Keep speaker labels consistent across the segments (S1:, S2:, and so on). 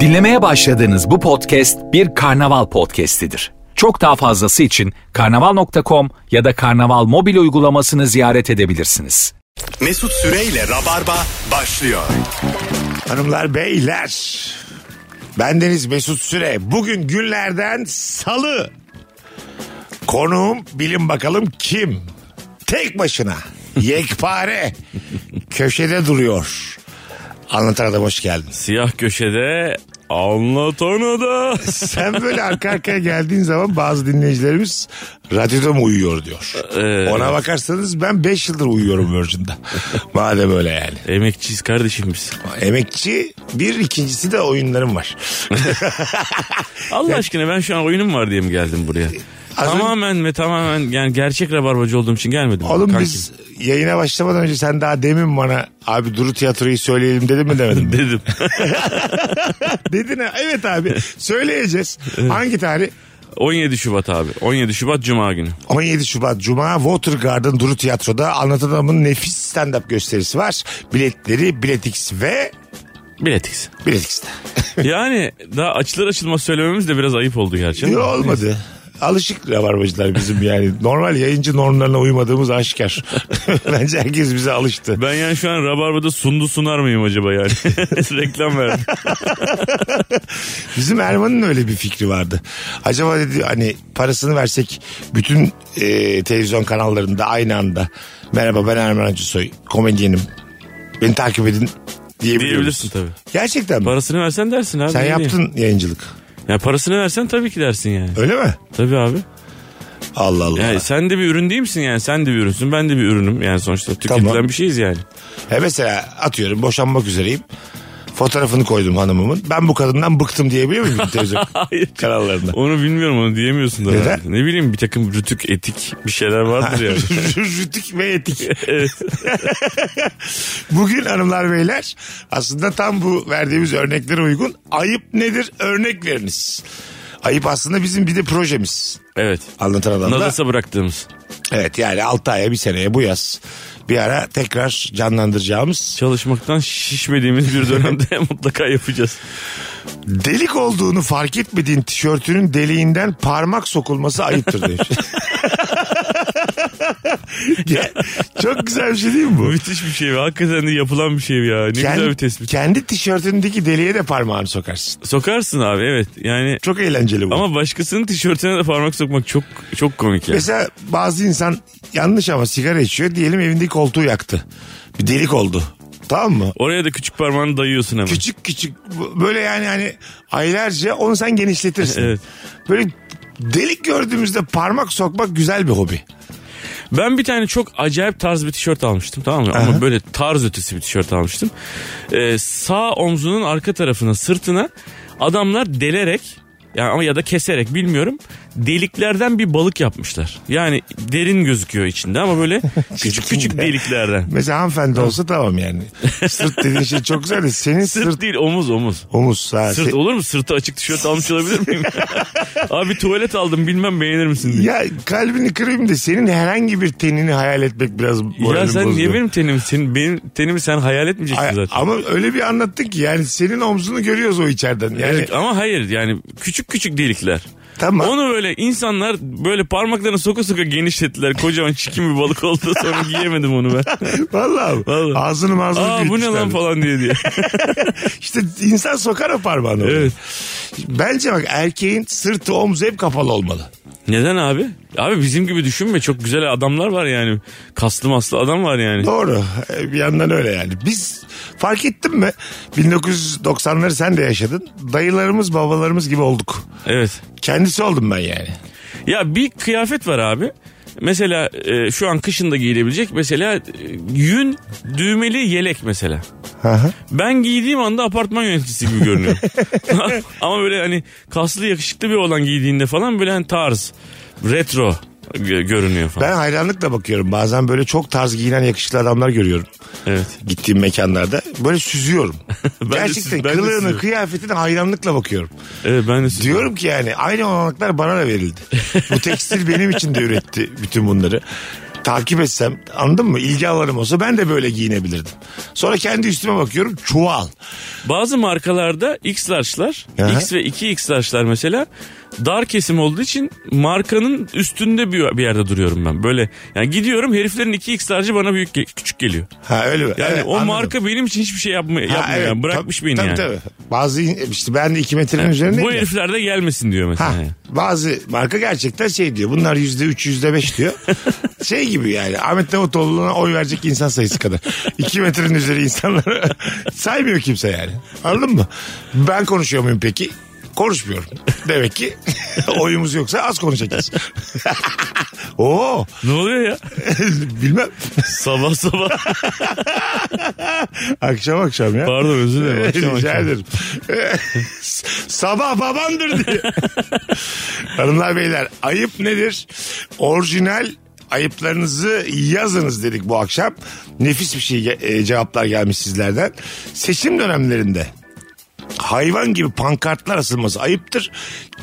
S1: Dinlemeye başladığınız bu podcast bir karnaval podcastidir. Çok daha fazlası için karnaval.com ya da karnaval mobil uygulamasını ziyaret edebilirsiniz.
S2: Mesut Süreyle Rabarba başlıyor.
S3: Hanımlar beyler. Bendeniz Mesut Süre. Bugün günlerden salı. Konuğum bilin bakalım kim? Tek başına. Yekpare. köşede duruyor. Anlatan adam hoş geldin.
S4: Siyah köşede anlat onu da.
S3: Sen böyle arka arkaya geldiğin zaman bazı dinleyicilerimiz radyoda mı uyuyor diyor.
S4: Ee,
S3: Ona bakarsanız ben 5 yıldır uyuyorum Virgin'de. Madem öyle yani.
S4: Emekçiyiz kardeşim biz.
S3: Emekçi bir ikincisi de oyunlarım var.
S4: Allah aşkına ben şu an oyunum var diye mi geldim buraya?
S3: Az
S4: tamamen ve tamamen yani gerçek rabarbacı olduğum için gelmedim.
S3: Oğlum
S4: Kankim.
S3: biz yayına başlamadan önce sen daha demin bana abi Duru tiyatroyu söyleyelim dedin mi demedin mi?
S4: Dedim.
S3: dedin ha evet abi söyleyeceğiz. Hangi tarih?
S4: 17 Şubat abi. 17 Şubat Cuma günü.
S3: 17 Şubat Cuma Watergarden Duru Tiyatro'da Anlatan Adam'ın nefis stand-up gösterisi var. Biletleri Biletix ve
S4: Biletix.
S3: Biletix'te.
S4: Yani daha açılır açılmaz söylememiz de biraz ayıp oldu gerçi.
S3: Yok olmadı. Alışık rabarbacılar bizim yani. Normal yayıncı normlarına uymadığımız aşikar. Bence herkes bize alıştı.
S4: Ben yani şu an rabarbada sundu sunar mıyım acaba yani? Reklam verdim.
S3: Bizim Erman'ın öyle bir fikri vardı. Acaba dedi hani parasını versek bütün e, televizyon kanallarında aynı anda merhaba ben Erman Acısoy komedyenim beni takip edin diyebiliyor
S4: Diyebilirsin
S3: musun?
S4: tabii.
S3: Gerçekten mi?
S4: Parasını versen dersin abi.
S3: Sen
S4: ne diyeyim?
S3: yaptın yayıncılık.
S4: Ya parasını versen tabii ki dersin yani.
S3: Öyle mi?
S4: Tabii abi.
S3: Allah Allah.
S4: Yani sen de bir ürün değil misin yani? Sen de bir ürünsün, ben de bir ürünüm. Yani sonuçta tüketilen
S3: Tamam.
S4: bir şeyiz yani.
S3: E mesela atıyorum boşanmak üzereyim. Fotoğrafını koydum hanımımın. Ben bu kadından bıktım diyebiliyor muyum bütün televizyon
S4: Hayır.
S3: kanallarında?
S4: Onu bilmiyorum, onu diyemiyorsun da.
S3: Neden?
S4: herhalde. Ne bileyim bir takım rütük, etik bir şeyler vardır yani.
S3: Rütük ve etik. Bugün hanımlar beyler aslında tam bu verdiğimiz örneklere uygun ayıp nedir örnek veriniz. Ayıp aslında bizim bir de projemiz.
S4: evet.
S3: Anlatan adamda.
S4: Nadasa bıraktığımız.
S3: Evet yani 6 aya bir seneye bu yaz bir ara tekrar canlandıracağımız
S4: Çalışmaktan şişmediğimiz bir dönemde mutlaka yapacağız.
S3: delik olduğunu fark etmediğin tişörtünün deliğinden parmak sokulması ayıptır demiş. Ya, Çok güzel bir şey değil mi bu?
S4: Müthiş bir şey ve hakikaten de yapılan bir şey ya. Ne güzel bir
S3: Kendi,
S4: tespit.
S3: kendi tişörtündeki deliğe de parmağını sokarsın.
S4: Sokarsın abi evet. Yani
S3: Çok eğlenceli bu.
S4: ama başkasının tişörtüne de parmak sokmak çok çok komik yani.
S3: Mesela bazı insan yanlış ama sigara içiyor. Diyelim evindeki koltuğu yaktı. Bir delik oldu. Tamam mı?
S4: Oraya da küçük parmağını dayıyorsun hemen.
S3: Küçük küçük bu- böyle yani hani aylarca onu sen genişletirsin.
S4: Evet.
S3: Böyle delik gördüğümüzde parmak sokmak güzel bir hobi.
S4: Ben bir tane çok acayip tarz bir tişört almıştım tamam mı? Ama böyle tarz ötesi bir tişört almıştım. Ee, sağ omzunun arka tarafına sırtına adamlar delerek yani ama ya da keserek bilmiyorum deliklerden bir balık yapmışlar. Yani derin gözüküyor içinde ama böyle küçük küçük
S3: İçinde.
S4: deliklerden.
S3: Mesela hanımefendi olsa tamam yani. Sırt dediğin şey çok güzel de senin sırt,
S4: Sırt değil omuz omuz.
S3: omuz. Ha, şey-
S4: Sırt
S3: se-
S4: olur mu? Sırtı açık tişört almış olabilir miyim? Abi tuvalet aldım bilmem beğenir misin diye.
S3: ya kalbini kırayım da senin herhangi bir tenini hayal etmek biraz
S4: Ya,
S3: moralimi
S4: sen
S3: bozuyor.
S4: niye benim tenimi, senin, benim tenimi sen hayal etmeyeceksin
S3: Ay-
S4: zaten.
S3: ama öyle bir anlattın ki yani senin omzunu görüyoruz o içeriden. Yani
S4: Evet, ama hayır yani küçük küçük delikler.
S3: Tamam.
S4: Onu böyle insanlar böyle parmaklarını soka soka genişlettiler. Kocaman çikim bir balık oldu sonra giyemedim onu ben.
S3: vallahi,
S4: Vallahi.
S3: ağzını mağzını
S4: Aa bu ne lan
S3: büyütmüşler.
S4: falan diye diye.
S3: İşte insan sokar o parmağını. oraya.
S4: Evet.
S3: Bence bak erkeğin sırtı omzu hep kapalı olmalı.
S4: Neden abi? Abi bizim gibi düşünme çok güzel adamlar var yani. Kaslı maslı adam var yani.
S3: Doğru. Ee, Bir yandan öyle yani. Biz fark ettin mi? 1990'ları sen de yaşadın. Dayılarımız babalarımız gibi olduk.
S4: Evet.
S3: Kendisi oldum ben yani.
S4: Ya bir kıyafet var abi. Mesela e, şu an kışında giyilebilecek mesela e, yün düğmeli yelek mesela.
S3: Aha.
S4: Ben giydiğim anda apartman yöneticisi gibi görünüyorum. Ama böyle hani kaslı yakışıklı bir olan giydiğinde falan böyle hani tarz, retro gö- görünüyor falan.
S3: Ben hayranlıkla bakıyorum. Bazen böyle çok tarz giyinen yakışıklı adamlar görüyorum.
S4: Evet.
S3: Gittiğim mekanlarda. Böyle süzüyorum.
S4: Ben de
S3: Gerçekten
S4: süz- ben de
S3: kılığını,
S4: süzüyorum.
S3: kıyafetini hayranlıkla bakıyorum.
S4: Evet ben de siz-
S3: Diyorum ki yani aynı olanaklar bana da verildi. Bu tekstil benim için de üretti bütün bunları. takip etsem anladın mı? İlgi alanım olsa ben de böyle giyinebilirdim. Sonra kendi üstüme bakıyorum çuval.
S4: Bazı markalarda X large'lar,
S3: Aha.
S4: X ve 2X large'lar mesela dar kesim olduğu için markanın üstünde bir, bir yerde duruyorum ben. Böyle yani gidiyorum heriflerin 2X large'ı bana büyük ge- küçük geliyor.
S3: Ha öyle mi?
S4: Yani
S3: Evet,
S4: o
S3: anladım.
S4: marka benim için hiçbir şey yapma,
S3: Ha,
S4: yapmıyor
S3: evet.
S4: yani. Bırakmış
S3: Tabii-
S4: beni
S3: tabii,
S4: yani.
S3: Tabii. Bazı in- işte ben de 2 metrenin üzerindeyim.
S4: Bu
S3: ya.
S4: herifler de gelmesin diyor mesela.
S3: Ha,
S4: yani.
S3: bazı marka gerçekten şey diyor. Bunlar yüzde üç, yüzde beş diyor. şey gibi yani. Ahmet Davutoğlu'na oy verecek insan sayısı kadar. İki metrenin üzeri insanları saymıyor kimse yani. Anladın mı? Ben konuşuyor muyum peki? Konuşmuyorum. Demek ki oyumuz yoksa az konuşacağız. Oo,
S4: Ne oluyor ya?
S3: bilmem.
S4: sabah sabah.
S3: Akşam akşam ya.
S4: Pardon özür dilerim. Akşam
S3: Rica
S4: akşam.
S3: ederim. Sabah babandır diye. Hanımlar beyler ayıp nedir? Orijinal ayıplarınızı yazınız dedik bu akşam. Nefis bir şey ge- e, cevaplar gelmiş sizlerden. Seçim dönemlerinde hayvan gibi pankartlar asılması ayıptır.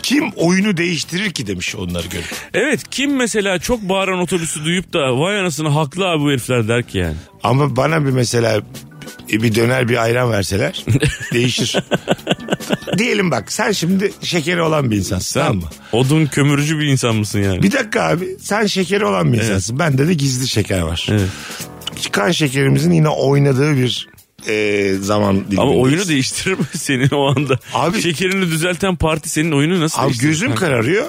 S3: Kim oyunu değiştirir ki demiş onları görüp.
S4: Evet kim mesela çok bağıran otobüsü duyup da vay anasını haklı abi bu herifler der ki yani.
S3: Ama bana bir mesela e, bir döner bir ayran verseler değişir. Diyelim bak sen şimdi şekeri olan bir insansın tamam mı?
S4: Odun kömürücü bir insan mısın yani?
S3: Bir dakika abi sen şekeri olan bir insansın. Bende de gizli şeker var.
S4: Evet.
S3: Kan şekerimizin yine oynadığı bir e, zaman dilimi.
S4: Ama oyunu değiştirir mi senin o anda?
S3: Abi-
S4: Abi şekerini düzelten parti senin oyunu nasıl
S3: Abi
S4: değiştirir?
S3: gözüm kararıyor.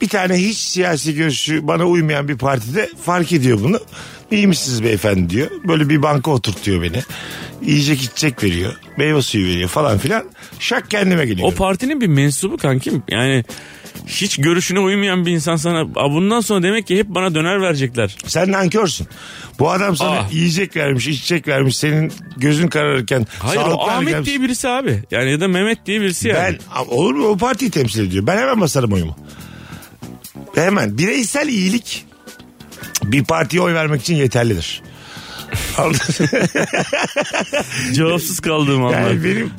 S3: Bir tane hiç siyasi görüşü bana uymayan bir partide fark ediyor bunu. İyi misiniz beyefendi diyor. Böyle bir banka oturtuyor beni. Yiyecek içecek veriyor. Meyve suyu veriyor falan filan. Şak kendime
S4: O
S3: geliyorum.
S4: partinin bir mensubu kankim. Yani hiç görüşüne uymayan bir insan sana "Aa, bundan sonra demek ki hep bana döner verecekler.
S3: Sen nankörsün. Bu adam sana
S4: Aa.
S3: yiyecek vermiş, içecek vermiş. Senin gözün kararırken
S4: Hayır o
S3: sağlıklı
S4: Ahmet
S3: gelmiş.
S4: diye birisi abi. Yani ya da Mehmet diye birisi yani.
S3: Ben a- olur mu o partiyi temsil ediyor. Ben hemen basarım oyumu. Hemen bireysel iyilik bir partiye oy vermek için yeterlidir. Anladın mı?
S4: Cevapsız kaldığım anlar.
S3: yani benim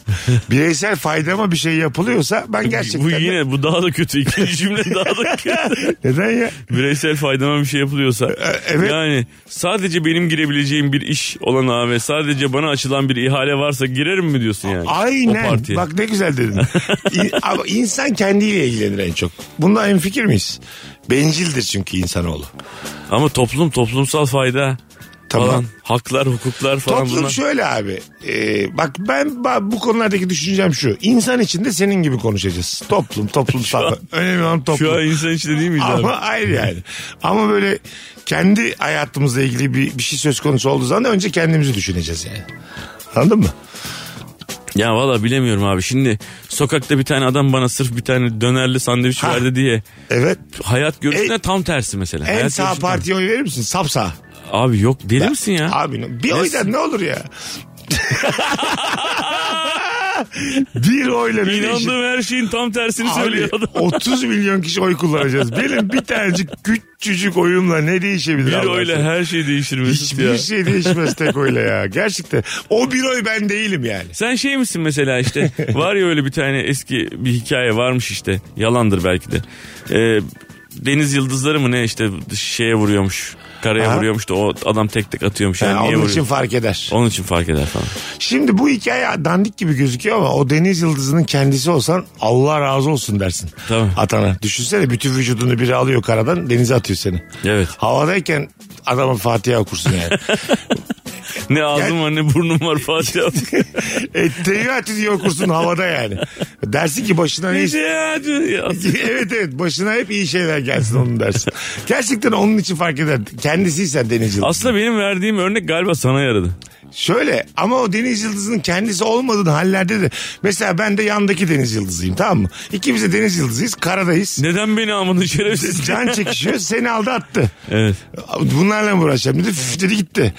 S3: bireysel faydama bir şey yapılıyorsa ben gerçekten
S4: bu
S3: de-
S4: yine bu daha da kötü. İkinci cümle daha da kötü.
S3: neden ya?
S4: Bireysel faydama bir şey yapılıyorsa.
S3: E, evet.
S4: Yani sadece benim girebileceğim bir iş olanağı ve sadece bana açılan bir ihale varsa girerim mi diyorsun yani? O
S3: Aynen.
S4: partiye.
S3: Bak ne güzel dedin. İ- Ama insan kendiyle ilgilenir en çok. Bunda en fikir miyiz? Bencildir çünkü insanoğlu.
S4: Ama toplum toplumsal fayda
S3: Tamam.
S4: falan haklar hukuklar falan
S3: Toplum şey
S4: bunlar.
S3: şöyle abi. Ee, bak ben ba- bu konulardaki düşüncem şu. İnsan içinde senin gibi konuşacağız. Toplum, toplumsal. Önemli olan toplum.
S4: Şu an insan içinde değil miyiz abi?
S3: Ama hayır yani. Ama böyle kendi hayatımızla ilgili bir, bir şey söz konusu olduğu zaman da önce kendimizi düşüneceğiz yani. Anladın mı?
S4: Ya valla bilemiyorum abi. Şimdi sokakta bir tane adam bana sırf bir tane dönerli sandviç
S3: Ha.
S4: verdi diye
S3: Evet.
S4: hayat görüşüne
S3: En-
S4: tam tersi mesela.
S3: En
S4: Hayat
S3: sağ
S4: görüşü tam-
S3: partiye oy verir misin? Sap sağ.
S4: Abi yok deli misin ya?
S3: Abi bir oydan ne olur ya? bir oyla ne değişir?
S4: İnandığım her şeyin tam tersini
S3: Abi,
S4: söylüyor adam.
S3: 30 milyon kişi oy kullanacağız. Benim bir tanecik küçücük oyumla ne değişebilir?
S4: Bir
S3: Allah
S4: öyle
S3: aşkına?
S4: her şey değişir Mesut
S3: Hiçbir
S4: ya.
S3: şey değişmez tek oyla ya. Gerçekten. O bir oy ben değilim yani.
S4: Sen şey misin mesela işte var ya öyle bir tane eski bir hikaye varmış işte yalandır belki de. Ee, deniz yıldızları mı ne işte şeye vuruyormuş karaya
S3: Aha.
S4: vuruyormuş da o adam tek tek atıyormuş. Yani
S3: Ha,
S4: niye
S3: onun
S4: vuruyor?
S3: için fark eder.
S4: Onun için fark eder falan.
S3: Şimdi bu hikaye dandik gibi gözüküyor ama o deniz yıldızının kendisi olsan Allah razı olsun dersin.
S4: Tabii.
S3: Atana. Düşünsene bütün vücudunu biri alıyor karadan denize atıyor seni.
S4: Evet.
S3: Havadayken adamın Fatiha okursun yani.
S4: Ne ağzım var ne burnum var Fatih abi.
S3: e, teyyatü diye okursun havada yani. Dersin ki başına ne
S4: Ne
S3: iş-
S4: şey ya diyor ya.
S3: evet evet başına hep iyi şeyler gelsin onun dersin. Gerçekten onun için fark eder. Kendisiysen deniz yıldızı.
S4: Aslında benim verdiğim örnek galiba sana yaradı.
S3: Şöyle ama o deniz yıldızının kendisi olmadığı hallerde de mesela ben de yandaki deniz yıldızıyım tamam mı? İkimiz de deniz yıldızıyız karadayız.
S4: Neden beni almadın şerefsiz?
S3: Can çekişiyor seni aldı attı.
S4: Evet.
S3: Bunlarla mı uğraşacağım dedi "Üf," dedi gitti.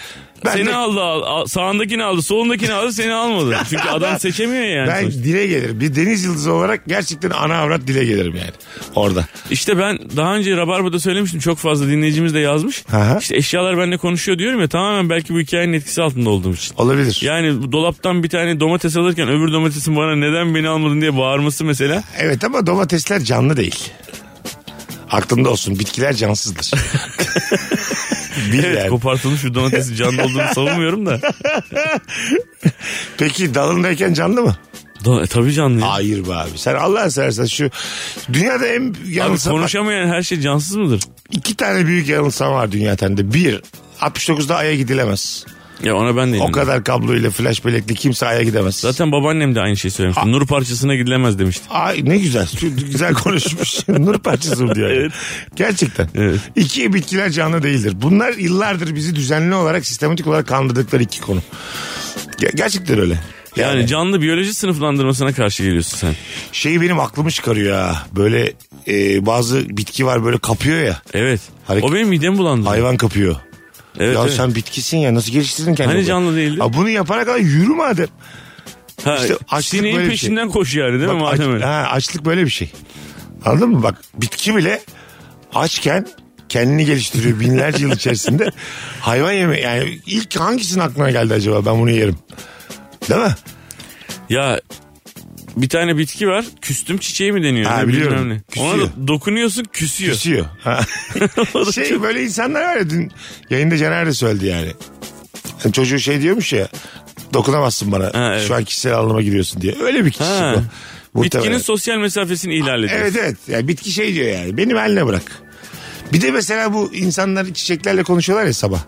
S3: Ben
S4: seni
S3: de-
S4: aldı, al, al- sağındakini aldı, solundakini aldı, seni almadı. Çünkü adam seçemiyor yani.
S3: Ben
S4: sonuçta.
S3: dile gelirim. Bir deniz yıldızı olarak gerçekten ana avrat dile gelirim yani. Orada.
S4: İşte ben daha önce Rabarba'da söylemiştim. Çok fazla dinleyicimiz de yazmış.
S3: Aha.
S4: İşte eşyalar benimle konuşuyor diyorum ya tamamen belki bu hikayenin etkisi altında olduğum için.
S3: Olabilir.
S4: Yani bu dolaptan bir tane domates alırken öbür domatesin bana neden beni almadın diye bağırması mesela.
S3: Evet ama domatesler canlı değil. Aklında olsun bitkiler cansızdır. Bil
S4: Evet
S3: yani.
S4: kopartılmış bir domatesin canlı olduğunu savunmuyorum da.
S3: Peki dalındayken canlı mı?
S4: Do- e, tabii canlı. ya.
S3: Hayır be abi. Sen Allah'ın seversen şu dünyada en
S4: Abi
S3: yanılsama
S4: konuşamayan her şey cansız mıdır?
S3: iki tane büyük yanılsama var dünya tarihinde. Bir 69'da aya gidilemez.
S4: Ya ona ben de
S3: O
S4: inanıyorum.
S3: kadar kablo ile flash bellekli kimse aya gidemez.
S4: Hmm. Zaten babaannem de aynı şeyi söylemişti. Nur parçasına gidilemez demişti.
S3: Ay ne güzel. Şu Güzel konuşmuş. Nur parçası bu diyor.
S4: Evet.
S3: Gerçekten.
S4: Evet.
S3: İki bitkiler canlı değildir. Bunlar yıllardır bizi düzenli olarak sistematik olarak kandırdıkları iki konu. Ger- gerçekten öyle.
S4: Yani, canlı biyoloji sınıflandırmasına karşı geliyorsun sen.
S3: Şey benim aklımı çıkarıyor ha. Böyle e, bazı bitki var böyle kapıyor ya.
S4: Evet.
S3: Hareket-
S4: O benim midemi bulandırdı.
S3: Hayvan kapıyor.
S4: Evet,
S3: ya
S4: evet.
S3: sen bitkisin ya nasıl geliştirdin kendini?
S4: Hani
S3: bu?
S4: canlı değildi?
S3: Ha, bunu yapana kadar yürü madem.
S4: Ha,
S3: işte açlık
S4: sineğin
S3: böyle bir şey.
S4: peşinden koş yani değil mi
S3: Bak, aç-
S4: madem öyle?
S3: ha, açlık böyle bir şey. Anladın mı? Bak bitki bile açken kendini geliştiriyor binlerce yıl içerisinde. Hayvan yeme yani ilk hangisinin aklına geldi acaba ben bunu yerim. Değil mi?
S4: Ya bir tane bitki var. Küstüm çiçeği mi deniyor?
S3: Ha,
S4: Ne,
S3: biliyorum.
S4: bilmem ne.
S3: Küsüyor.
S4: Ona da dokunuyorsun küsüyor.
S3: Küsüyor. Ha. şey böyle insanlar var ya dün yayında Caner de söyledi yani. Yani çocuğu şey diyormuş ya dokunamazsın bana
S4: Ha, evet.
S3: şu an kişisel alanıma giriyorsun diye. Öyle bir kişi
S4: Ha.
S3: bu.
S4: Bitkinin
S3: Muhtemelen.
S4: sosyal mesafesini ihlal ediyor.
S3: Evet evet. Yani bitki şey diyor yani. Benim haline bırak. Bir de mesela bu insanlar çiçeklerle konuşuyorlar ya sabah.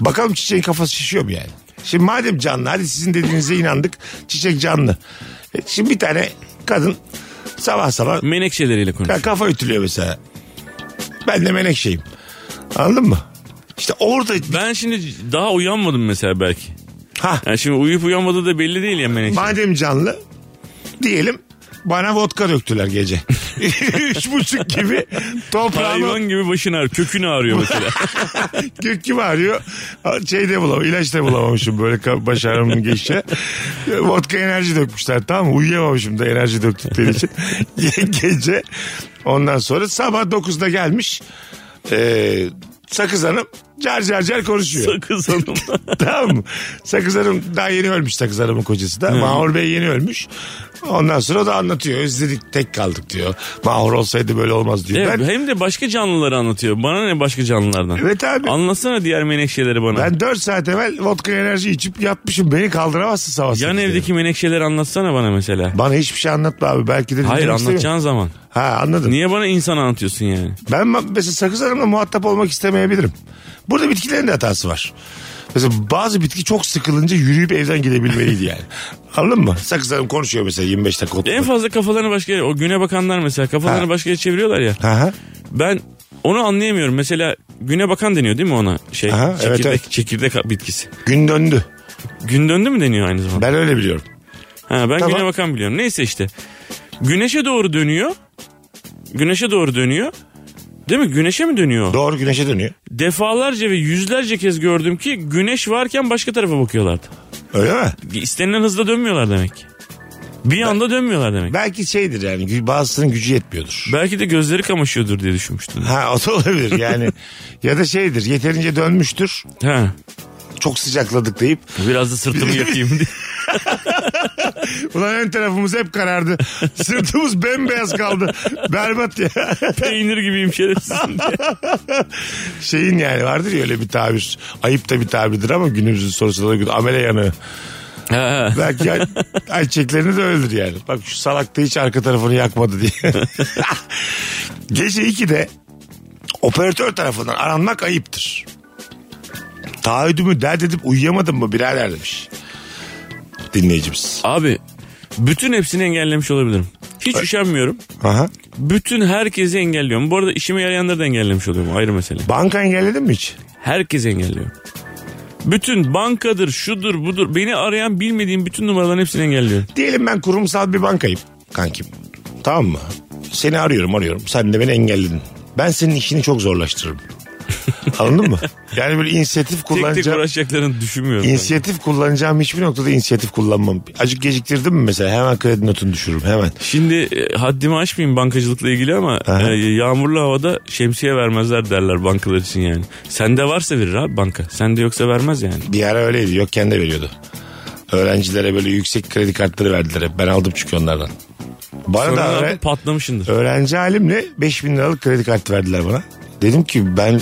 S3: Bakalım çiçeğin kafası şişiyor mu yani? Şimdi madem canlı hadi sizin dediğinize inandık. Çiçek canlı. E, Şimdi bir tane kadın sabah sabah
S4: Hmm. Menekşeleriyle
S3: ka-
S4: konuş.
S3: kafa ütülüyor mesela. Ben de menekşeyim. Anladın mı? İşte orada
S4: Ben şimdi daha uyanmadım mesela belki.
S3: ha
S4: Yani şimdi uyuyup uyanmadığı da belli değil ya menekşe.
S3: madem canlı diyelim bana vodka döktüler gece. Üç buçuk gibi toprağıma
S4: Hayvan gibi başın ağrıyor. Kökün ağrıyor mesela.
S3: Gökkim ağrıyor. Şey de bulamam, ilaç da bulamamışım böyle ka- baş ağrımın geçişe. Vodka enerji dökmüşler tamam mı? Uyuyamamışım da enerji döktükleri için. Ge- Gece ondan sonra sabah 9'da gelmiş. Ee, Sakız Hanım car car car konuşuyor.
S4: Sakız hanım.
S3: tamam mı? Sakız Hanım daha yeni ölmüş Sakız Hanım'ın kocası da. Mahur Bey yeni ölmüş. Ondan sonra o da anlatıyor. Özledik tek kaldık diyor. Mahur olsaydı böyle olmaz diyor.
S4: Evet,
S3: ben,
S4: hem de başka canlıları anlatıyor. Bana ne başka canlılardan?
S3: Evet abi.
S4: Anlatsana diğer menekşeleri bana.
S3: Ben 4 saat evvel vodka enerji içip yatmışım. Beni kaldıramazsın sabah.
S4: Yan
S3: sekizde.
S4: evdeki menekşeleri anlatsana bana mesela.
S3: Bana hiçbir şey anlatma abi. Belki de dinlemek
S4: Hayır
S3: istemiyorum.
S4: anlatacağın zaman.
S3: Ha anladım.
S4: Niye bana insan anlatıyorsun yani?
S3: Ben ma- mesela Sakız Hanım'la muhatap olmak istemeyebilirim. Burada bitkilerin de hatası var. Mesela bazı bitki çok sıkılınca yürüyüp evden gidebilmeliydi yani. Anladın mı? Sakız Hanım konuşuyor mesela 25 dakika oturup.
S4: En fazla kafalarını başka yere, o güne bakanlar mesela kafalarını
S3: Ha.
S4: başka yere çeviriyorlar ya.
S3: Aha.
S4: Ben onu anlayamıyorum. Mesela güne bakan deniyor değil mi ona? Şey,
S3: Aha, evet,
S4: çekirdek,
S3: evet.
S4: çekirdek bitkisi.
S3: Gün döndü.
S4: Gün döndü mü deniyor aynı zamanda?
S3: Ben öyle biliyorum.
S4: Ha, ben
S3: Tamam.
S4: güne bakan biliyorum. Neyse işte. Güneşe doğru dönüyor. Güneşe doğru dönüyor. Değil mi? Güneşe mi dönüyor?
S3: Doğru güneşe dönüyor.
S4: Defalarca ve yüzlerce kez gördüm ki güneş varken başka tarafa bakıyorlardı.
S3: Öyle mi?
S4: İstenilen hızda dönmüyorlar demek. ki. Bir anda dönmüyorlar demek.
S3: Belki şeydir yani gü- bazısının gücü yetmiyordur.
S4: Belki de gözleri kamaşıyordur diye düşünmüştüm.
S3: Ha o da olabilir yani. ya da şeydir yeterince dönmüştür.
S4: Ha.
S3: Çok sıcakladık deyip
S4: Biraz da sırtımı yakayım diye.
S3: Ulan ön tarafımız hep karardı. Sırtımız bembeyaz kaldı. Berbat ya.
S4: Peynir gibiyim şerefsiz.
S3: Şeyin yani vardır ya öyle bir tabir. Ayıp da bir tabirdir ama günümüzün sorusu da amele yanığı.
S4: Ha.
S3: Belki ay, ayçiçeklerini de öldür yani. Bak şu salak da hiç arka tarafını yakmadı diye. Gece 2'de operatör tarafından aranmak ayıptır. Taahhüdümü dert edip uyuyamadım mı birader demiş. Dinleyicimiz.
S4: Abi bütün hepsini engellemiş olabilirim. Hiç üşenmiyorum.
S3: Aha.
S4: Bütün herkesi engelliyorum. Bu arada işime yarayanları da engellemiş oluyorum. Ayrı mesele.
S3: Banka engelledin mi hiç?
S4: Herkes engelliyor. Bütün bankadır, şudur, budur. Beni arayan bilmediğim bütün numaraların hepsini engelliyor.
S3: Diyelim ben kurumsal bir bankayım kankim. Tamam mı? Seni arıyorum arıyorum. Sen de beni engelledin. Ben senin işini çok zorlaştırırım. Anladın mı? Yani böyle inisiyatif
S4: Tek tek
S3: kullanacağım.
S4: uğraşacaklarını düşünmüyorum. ben.
S3: inisiyatif kullanacağım hiçbir noktada inisiyatif kullanmam. Acık geciktirdim mi mesela hemen kredi notunu düşürürüm hemen.
S4: Şimdi e, haddimi aşmayayım bankacılıkla ilgili ama
S3: Aha.
S4: e, yağmurlu havada şemsiye vermezler derler bankalar için yani. Sende varsa verir abi banka. Sende yoksa vermez yani.
S3: Bir ara öyleydi yok kendi veriyordu. Öğrencilere böyle yüksek kredi kartları verdiler hep. Ben aldım çünkü onlardan. Bana
S4: Sonra
S3: da
S4: ne
S3: öğre-
S4: yaptın? patlamışsındır.
S3: öğrenci halimle 5000 liralık kredi kartı verdiler bana. Dedim ki ben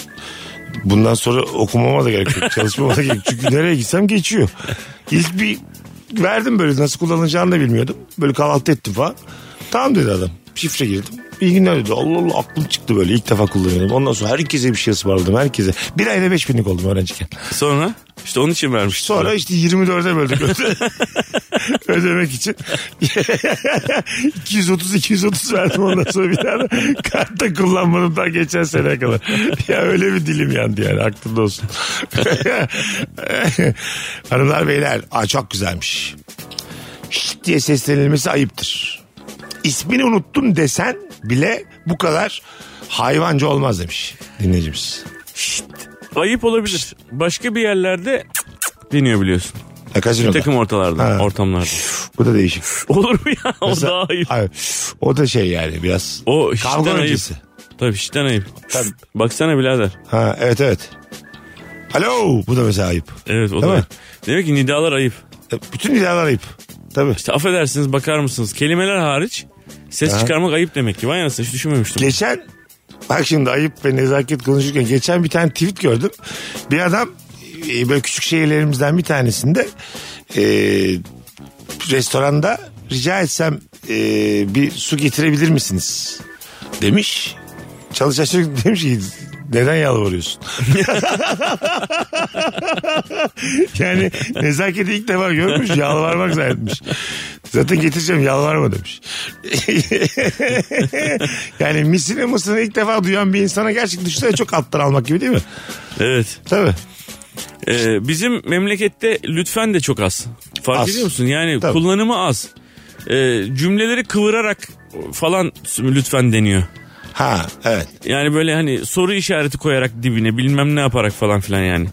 S3: bundan sonra okumama da gerek yok. Çalışmama da gerek yok. Çünkü nereye gitsem geçiyor. İlk bir verdim böyle nasıl kullanılacağını da bilmiyordum. Böyle kahvaltı ettim falan. Tamam dedi adam. Şifre girdim. İyi günler dedi. Allah Allah aklım çıktı böyle ilk defa kullanıyorum. Ondan sonra herkese bir şey ısmarladım herkese. Bir ayda 5000'lik oldum öğrenciyken.
S4: Sonra işte onun için vermiş.
S3: Sonra işte 24'e böldük öde- ödemek için. 230-230 verdim ondan sonra bir tane kartta kullanmadım daha geçen sene kadar. Ya öyle bir dilim yandı yani aklımda olsun. Hanımlar beyler aa, çok güzelmiş. Şşt diye seslenilmesi ayıptır. İsmini unuttum desen bile bu kadar hayvanca olmaz demiş dinleyicimiz.
S4: Ayıp olabilir. Başka bir yerlerde deniyor biliyorsun.
S3: Ha,
S4: Bir
S3: Kazinoda.
S4: takım ortalarda,
S3: Ha.
S4: ortamlarda.
S3: Bu da değişik.
S4: Olur mu ya? O
S3: Mesela-
S4: daha ayıp.
S3: Hayır. O da şey yani biraz.
S4: O işten
S3: Kavga
S4: ayıp.
S3: öncesi.
S4: Tabii işten ayıp.
S3: Tabii.
S4: Baksana birader.
S3: Ha, evet evet. Alo. Bu da mesela ayıp.
S4: Evet o da
S3: Değil mi?
S4: ayıp. Demek ki nidalar ayıp.
S3: E, Bütün ilalar ayıp. Tabii.
S4: İşte affedersiniz bakar mısınız? Kelimeler hariç ses
S3: Ha.
S4: çıkarmak ayıp demek ki. Vay anasını hiç düşünmemiştim.
S3: Geçen bak şimdi ayıp ve nezaket konuşurken geçen bir tane tweet gördüm. Bir adam e, böyle küçük şehirlerimizden bir tanesinde e, restoranda rica etsem e, bir su getirebilir misiniz demiş. Çalışan çocuk demiş ki neden yalvarıyorsun? yani nezaketi ilk defa görmüş yalvarmak zannetmiş. Zaten getireceğim yalvarma demiş. yani misini mısını ilk defa duyan bir insana gerçekten düşünsene çok alttan almak gibi değil mi?
S4: Evet.
S3: Tabii.
S4: Ee, bizim memlekette lütfen de çok az. Fark
S3: Az.
S4: ediyor musun? Yani
S3: Tabii.
S4: kullanımı az. Ee, cümleleri kıvırarak falan lütfen deniyor.
S3: Ha evet.
S4: Yani böyle hani soru işareti koyarak dibine bilmem ne yaparak falan filan yani.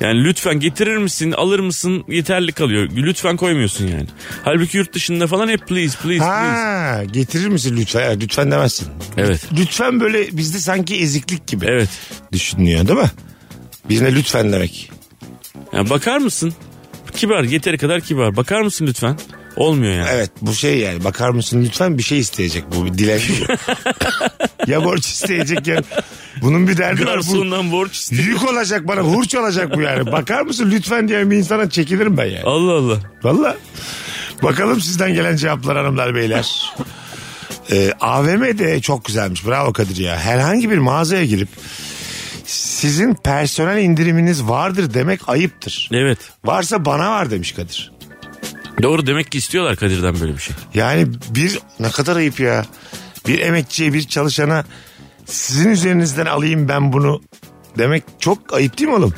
S4: Yani lütfen getirir misin alır mısın yeterli kalıyor. Lütfen koymuyorsun yani. Halbuki yurt dışında falan hep please please please.
S3: Ha getirir misin lütfen? Ha, Lütfen demezsin.
S4: Evet.
S3: Lütfen böyle bizde sanki eziklik gibi.
S4: Evet.
S3: Düşünüyor değil mi? Birine lütfen demek.
S4: Yani bakar mısın? Kibar yeteri kadar kibar. Bakar mısın lütfen? Olmuyor yani.
S3: Evet bu şey yani bakar mısın lütfen bir şey isteyecek bu bir dilenci. bu. ya borç isteyecek ya. Bunun bir derdi var. Bu,
S4: Garsondan borç iste-
S3: yük olacak bana hurç olacak bu yani. Bakar mısın lütfen diyen bir insana çekilirim ben yani.
S4: Allah Allah.
S3: Valla. Bakalım sizden gelen cevaplar hanımlar beyler. Ee, AVM de çok güzelmiş. Bravo Kadir ya. Herhangi bir mağazaya girip sizin personel indiriminiz vardır demek ayıptır.
S4: Evet.
S3: Varsa bana var demiş Kadir.
S4: Doğru demek ki istiyorlar Kadir'den böyle bir şey.
S3: Yani bir ne kadar ayıp ya. Bir emekçiye bir çalışana sizin üzerinizden alayım ben bunu demek çok ayıp değil mi oğlum?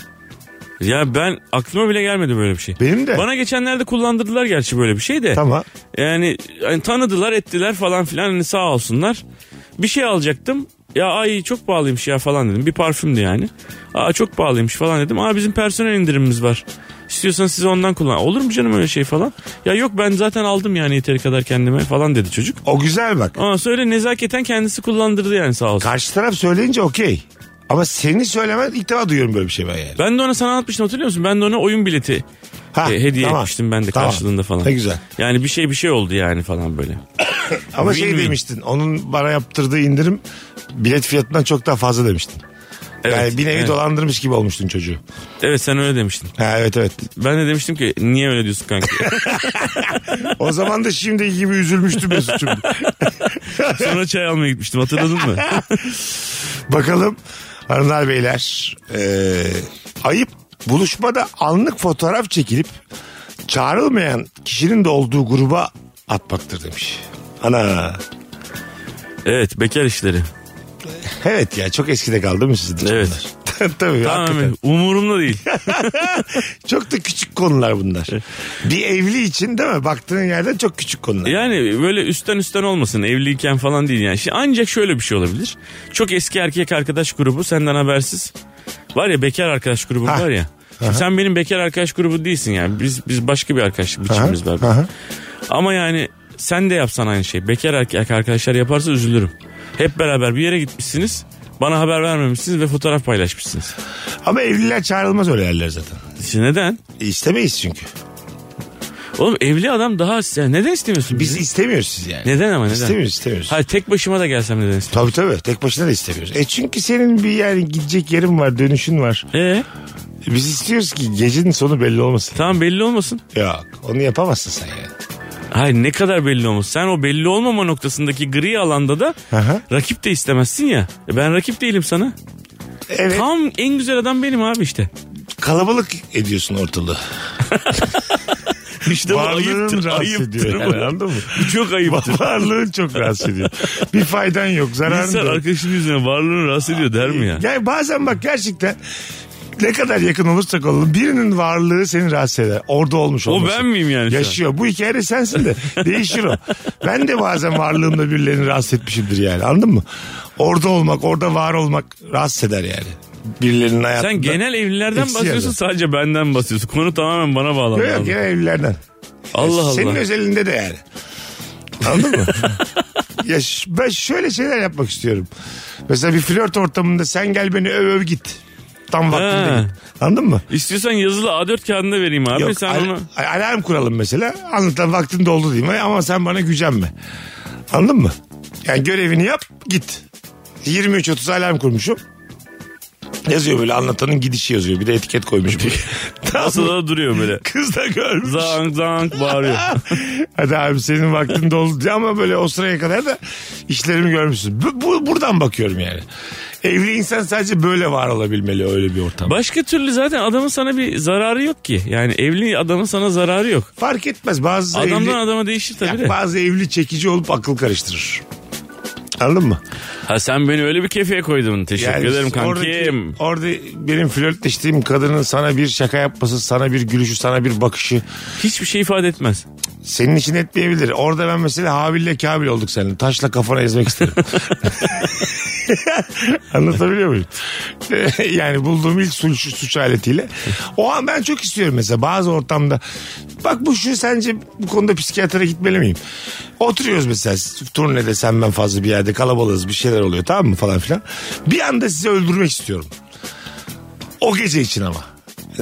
S4: Ya ben aklıma bile gelmedi böyle bir şey.
S3: Benim de.
S4: Bana geçenlerde kullandırdılar gerçi böyle bir şey de.
S3: Tamam.
S4: Yani hani tanıdılar ettiler falan filan hani sağ olsunlar. Bir şey alacaktım. Ya ay çok pahalıymış ya falan dedim. Bir parfümdü yani. Aa çok pahalıymış falan dedim. Aa bizim personel indirimimiz var. İstiyorsan siz ondan kullan. Olur mu canım öyle şey falan? Ya yok ben zaten aldım yani yeteri kadar kendime falan dedi çocuk.
S3: O güzel bak.
S4: Ondan sonra öyle nezaketen kendisi kullandırdı yani sağ olsun.
S3: Karşı taraf söyleyince okey. Ama seni söylemen ilk defa duyuyorum böyle bir şey ben yani.
S4: Ben de ona sana anlatmıştım hatırlıyor musun? Ben de ona oyun bileti
S3: Ha,
S4: e, hediye
S3: tamam.
S4: etmiştim ben de
S3: Tamam.
S4: karşılığında falan.
S3: Ne güzel.
S4: Yani bir şey bir şey oldu yani falan böyle.
S3: Ama şey
S4: Win-win.
S3: demiştin onun bana yaptırdığı indirim bilet fiyatından çok daha fazla demiştin. yani bir nevi
S4: evet.
S3: dolandırmış gibi olmuştun çocuğu.
S4: Evet sen öyle demiştin.
S3: Ha, evet evet.
S4: Ben de demiştim ki niye öyle diyorsun kanka?
S3: O zaman da şimdi gibi üzülmüştüm Mesut'um.
S4: Sonra çay almaya gitmiştim hatırladın mı?
S3: Bakalım hanımlar beyler. Ee, ayıp buluşmada anlık fotoğraf çekilip çağrılmayan kişinin de olduğu gruba atmaktır demiş. Ana.
S4: evet bekar işleri.
S3: Evet ya çok eskide kaldı değil mi sizin? için
S4: Evet.
S3: bunlar? Tabii hakikaten.
S4: Tamam umurumda değil.
S3: Çok da küçük konular bunlar. Bir evli için değil mi? Baktığın yerden çok küçük konular.
S4: Yani böyle üstten üstten olmasın evliyken falan değil yani. Şimdi Ancak şöyle bir şey olabilir. Çok eski erkek arkadaş grubu senden habersiz. Var ya bekar arkadaş grubum
S3: Ha.
S4: var ya. Şimdi sen benim bekar arkadaş grubu değilsin yani. Biz biz başka bir arkadaşlık biçimimiz var.
S3: Aha.
S4: Ama yani sen de yapsan aynı şey. Bekar erkek arkadaşlar yaparsa üzülürüm. Hep beraber bir yere gitmişsiniz. Bana haber vermemişsiniz ve fotoğraf paylaşmışsınız.
S3: Ama evliler çağrılmaz öyle yerler zaten.
S4: Şimdi neden?
S3: İstemeyiz çünkü.
S4: Oğlum evli adam daha yani neden istemiyorsun
S3: Biz
S4: bizi?
S3: istemiyoruz sizi yani.
S4: Neden ama neden?
S3: İstemiyoruz istemiyoruz.
S4: Hayır tek başıma da gelsem neden istemiyorsun?
S3: Tabii tabii tek başına da istemiyoruz. E çünkü senin bir yani gidecek yerin var dönüşün var.
S4: Ee,
S3: Biz istiyoruz ki gecenin sonu belli olmasın.
S4: tamam belli olmasın.
S3: Yok onu yapamazsın sen yani.
S4: Hayır ne kadar belli olmasın. Sen o belli olmama noktasındaki gri alanda da
S3: Aha.
S4: rakip de istemezsin ya. E Ben rakip değilim sana.
S3: Evet
S4: Tam en güzel adam benim abi işte.
S3: kalabalık ediyorsun ortalığı.
S4: İşte bu şey ayıptır,
S3: rahatsız
S4: ayıptır.
S3: ediyor
S4: bu.
S3: yani, anladın mı?
S4: Bu çok ayıptır.
S3: Varlığın çok rahatsız ediyor. Bir faydan yok zararın da
S4: İnsan
S3: yok.
S4: arkadaşının yüzüne varlığını rahatsız ediyor der mi ya?
S3: Yani bazen bak gerçekten ne kadar yakın olursak olalım birinin varlığı seni rahatsız eder. Orada olmuş
S4: O
S3: olması.
S4: ben miyim yani şu an?
S3: Yaşıyor. Bu hikayede sensin de değişir o. Ben de bazen varlığımla birilerini rahatsız etmişimdir yani anladın mı? Orada olmak, orada var olmak rahatsız eder yani. Birilerinin hayatında.
S4: Sen genel evlilerden
S3: Eksi
S4: bahsediyorsun
S3: yerden.
S4: sadece benden bahsediyorsun. Konu tamamen bana bağlandı.
S3: Yok, yok,
S4: abi.
S3: genel evlilerden.
S4: Allah Allah.
S3: E, Senin özelinde de yani. Anladın mı? ya ş- ben şöyle şeyler yapmak istiyorum. Mesela bir flört ortamında sen gel beni öv öv git. Tam vaktinde
S4: Ha.
S3: git. Anladın mı?
S4: İstiyorsan yazılı A4 kağıdında vereyim abi.
S3: Yok,
S4: sen
S3: al-
S4: onu...
S3: al- alarm kuralım mesela. Anlatan vaktin doldu diyeyim ama sen bana gücenme. Anladın mı? Yani görevini yap git. 23.30 alarm kurmuşum. Yazıyor böyle anlatanın gidişi yazıyor. Bir de etiket koymuş. Tamam mı?
S4: Masada duruyor böyle.
S3: Kız da görmüş.
S4: Zank zank bağırıyor.
S3: Hadi abi senin vaktin doldu diye ama böyle o sıraya kadar da işlerimi görmüşsün. Bu, bu- buradan bakıyorum yani. Evli insan sadece böyle var olabilmeli öyle bir ortam.
S4: Başka türlü zaten adamın sana bir zararı yok ki. Yani evli adamın sana zararı yok.
S3: Fark etmez bazı
S4: Adamdan
S3: evli,
S4: adama değişir tabii
S3: Ya
S4: de.
S3: bazı evli çekici olup akıl karıştırır. Anladın mı?
S4: Ha sen beni öyle bir kefeye koydun. Teşekkür
S3: Yani
S4: ederim
S3: oradaki-
S4: kankim.
S3: Orada benim flörtleştiğim kadının sana bir şaka yapması, sana bir gülüşü, sana bir bakışı
S4: Hiçbir şey ifade etmez.
S3: senin için etmeyebilir. Orada ben mesela Habil'le Kabil olduk seninle. Taşla kafana ezmek isterim. Anlatabiliyor muyum? yani bulduğum ilk suç, suç aletiyle. O an ben çok istiyorum mesela bazı ortamda. Bak bu şu sence bu konuda psikiyatra gitmeli miyim? Oturuyoruz mesela turnede sen ben fazla bir yerde kalabalığız bir şeyler oluyor tamam mı falan filan. Bir anda sizi öldürmek istiyorum. O gece için ama.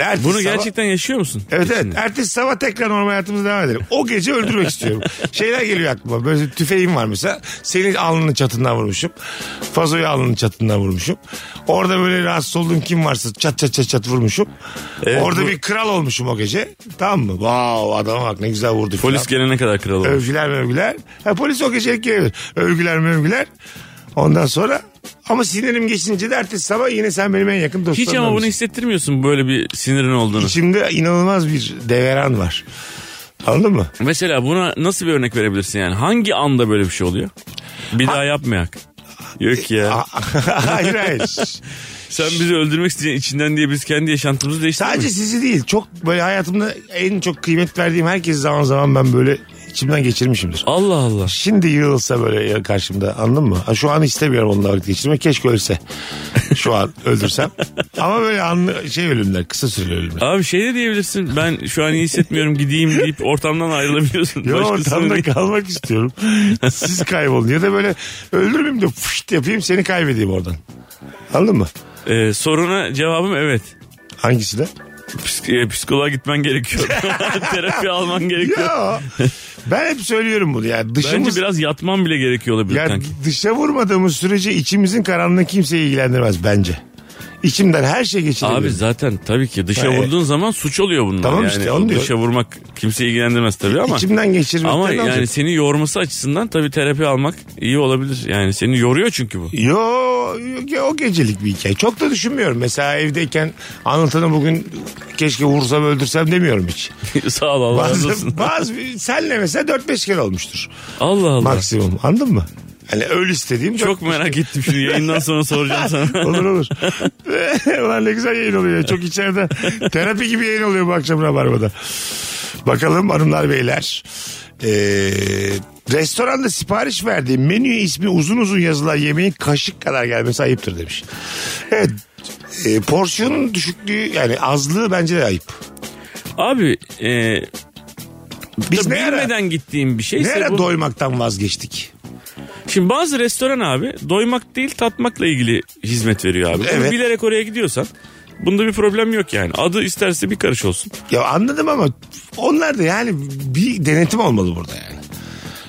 S3: Ertesi
S4: Bunu
S3: sabah-
S4: gerçekten yaşıyor musun?
S3: Evet evet.
S4: İçinde.
S3: Ertesi sabah tekrar normal hayatımıza devam edelim. O gece öldürmek istiyorum. Şeyler geliyor aklıma. Böyle tüfeğim var mesela. Senin alnının çatından vurmuşum. Fazoyu alnının çatından vurmuşum. Orada böyle rahatsız olduğum kim varsa çat çat çat çat vurmuşum. Orada bir kral olmuşum o gece. Tamam mı? Wow adama bak ne güzel vurdu.
S4: Polis
S3: falan.
S4: gelene kadar kral olur.
S3: Övgüler mövgüler. Ha, polis o gecelik gelebilir. Övgüler mövgüler. Ondan sonra ama sinirim geçince de ertesi sabah yine sen benim en yakın dostum.
S4: Hiç ama bunu hissettirmiyorsun böyle bir sinirin olduğunu.
S3: İçimde inanılmaz bir deveran var. Anladın mı?
S4: Mesela buna nasıl bir örnek verebilirsin yani? Hangi anda böyle bir şey oluyor? Bir daha yapmayak. Yok ya.
S3: hayır hayır.
S4: Sen bizi öldürmek isteyeceksin içinden diye biz kendi yaşantımızı
S3: Sadece
S4: değiştirmiyoruz.
S3: sizi değil. Çok böyle hayatımda en çok kıymet verdiğim herkes zaman zaman ben böyle içimden geçirmişimdir.
S4: Allah Allah.
S3: Şimdi yığılsa böyle ya karşımda anladın mı? Ha, Şu an istemiyorum onunla vakit geçirmek. Keşke ölse. Şu an öldürsem. Ama böyle anlı, şey ölümler kısa süreli ölümler.
S4: Abi şey de diyebilirsin ben şu an iyi hissetmiyorum gideyim deyip ortamdan ayrılabiliyorsun.
S3: Yo
S4: Başkasını
S3: ortamda
S4: değil.
S3: kalmak istiyorum. Siz kaybolun. Ya da böyle öldürmeyeyim de fışt yapayım seni kaybedeyim oradan. Anladın mı?
S4: Ee, soruna cevabım evet.
S3: Hangisi de?
S4: Psik- e, psikoloğa gitmen gerekiyor. Terapi alman gerekiyor.
S3: Yo. Ben hep söylüyorum bunu. Yani dışımız...
S4: Bence biraz yatman bile gerekiyor olabilir
S3: Ya
S4: kanki.
S3: dışa vurmadığımız sürece içimizin karanlığı kimseyi ilgilendirmez bence. İçimden her şey geçirebilir.
S4: Abi zaten tabii ki dışa
S3: Ha,
S4: vurduğun zaman suç oluyor bunlar.
S3: e- Tamam
S4: yani
S3: işte, onu diyor.
S4: Dışa vurmak kimseyi ilgilendirmez tabii ama.
S3: İçimden geçirmekten
S4: Ama
S3: ne
S4: yani
S3: olacak?
S4: seni yorması açısından tabii terapi almak iyi olabilir. Yani seni yoruyor çünkü bu.
S3: Yo, yo, o gecelik bir hikaye. Çok da düşünmüyorum. Mesela evdeyken anlatanı bugün keşke vursam öldürsem demiyorum hiç.
S4: Sağ ol Allah razı olsun.
S3: Bazı, bazı senle mesela 4-5 kere olmuştur.
S4: Allah Allah.
S3: Maksimum anladın mı? Hani öl istediğim dört-
S4: Çok merak ettim şimdi yayından sonra soracağım sana.
S3: Olur olur. Ulan ne güzel yayın oluyor. Çok içeride. Terapi gibi yayın oluyor bu akşam Rabarba'da. Bakalım hanımlar beyler. Ee, restoranda sipariş verdiğim menüye ismi uzun uzun yazılan yemeğin kaşık kadar gelmesi ayıptır demiş. Evet. e, porsiyonun düşüklüğü yani azlığı bence de ayıp.
S4: Abi e,
S3: Biz ne ara,
S4: bilmeden gittiğim bir
S3: ne
S4: şeyse
S3: ara
S4: bu.
S3: doymaktan vazgeçtik?
S4: Şimdi bazı restoran abi doymak değil tatmakla ilgili hizmet veriyor abi. Bunu
S3: Evet.
S4: bilerek oraya gidiyorsan Bunda bir problem yok yani. Adı isterse bir karış olsun.
S3: Ya anladım ama onlar da yani bir denetim olmalı burada yani.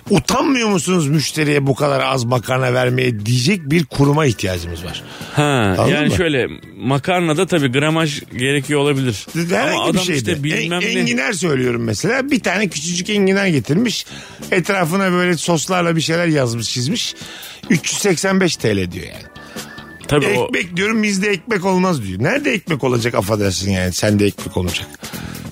S3: Utanmıyor musunuz müşteriye bu kadar az makarna vermeye diyecek bir kuruma ihtiyacımız var.
S4: Ha,
S3: Anladın
S4: yani
S3: mı?
S4: şöyle makarnada tabii gramaj gerekiyor olabilir.
S3: Herhangi
S4: Ama adam
S3: bir şey E, şeyde.
S4: işte bilmem
S3: En-
S4: ne.
S3: Enginar söylüyorum mesela. Bir tane küçücük enginar getirmiş. Etrafına böyle soslarla bir şeyler yazmış çizmiş. 385 TL diyor yani.
S4: Tabii o
S3: Ekmek diyorum bizde ekmek olmaz diyor. Nerede ekmek olacak affedersin yani sende ekmek olacak.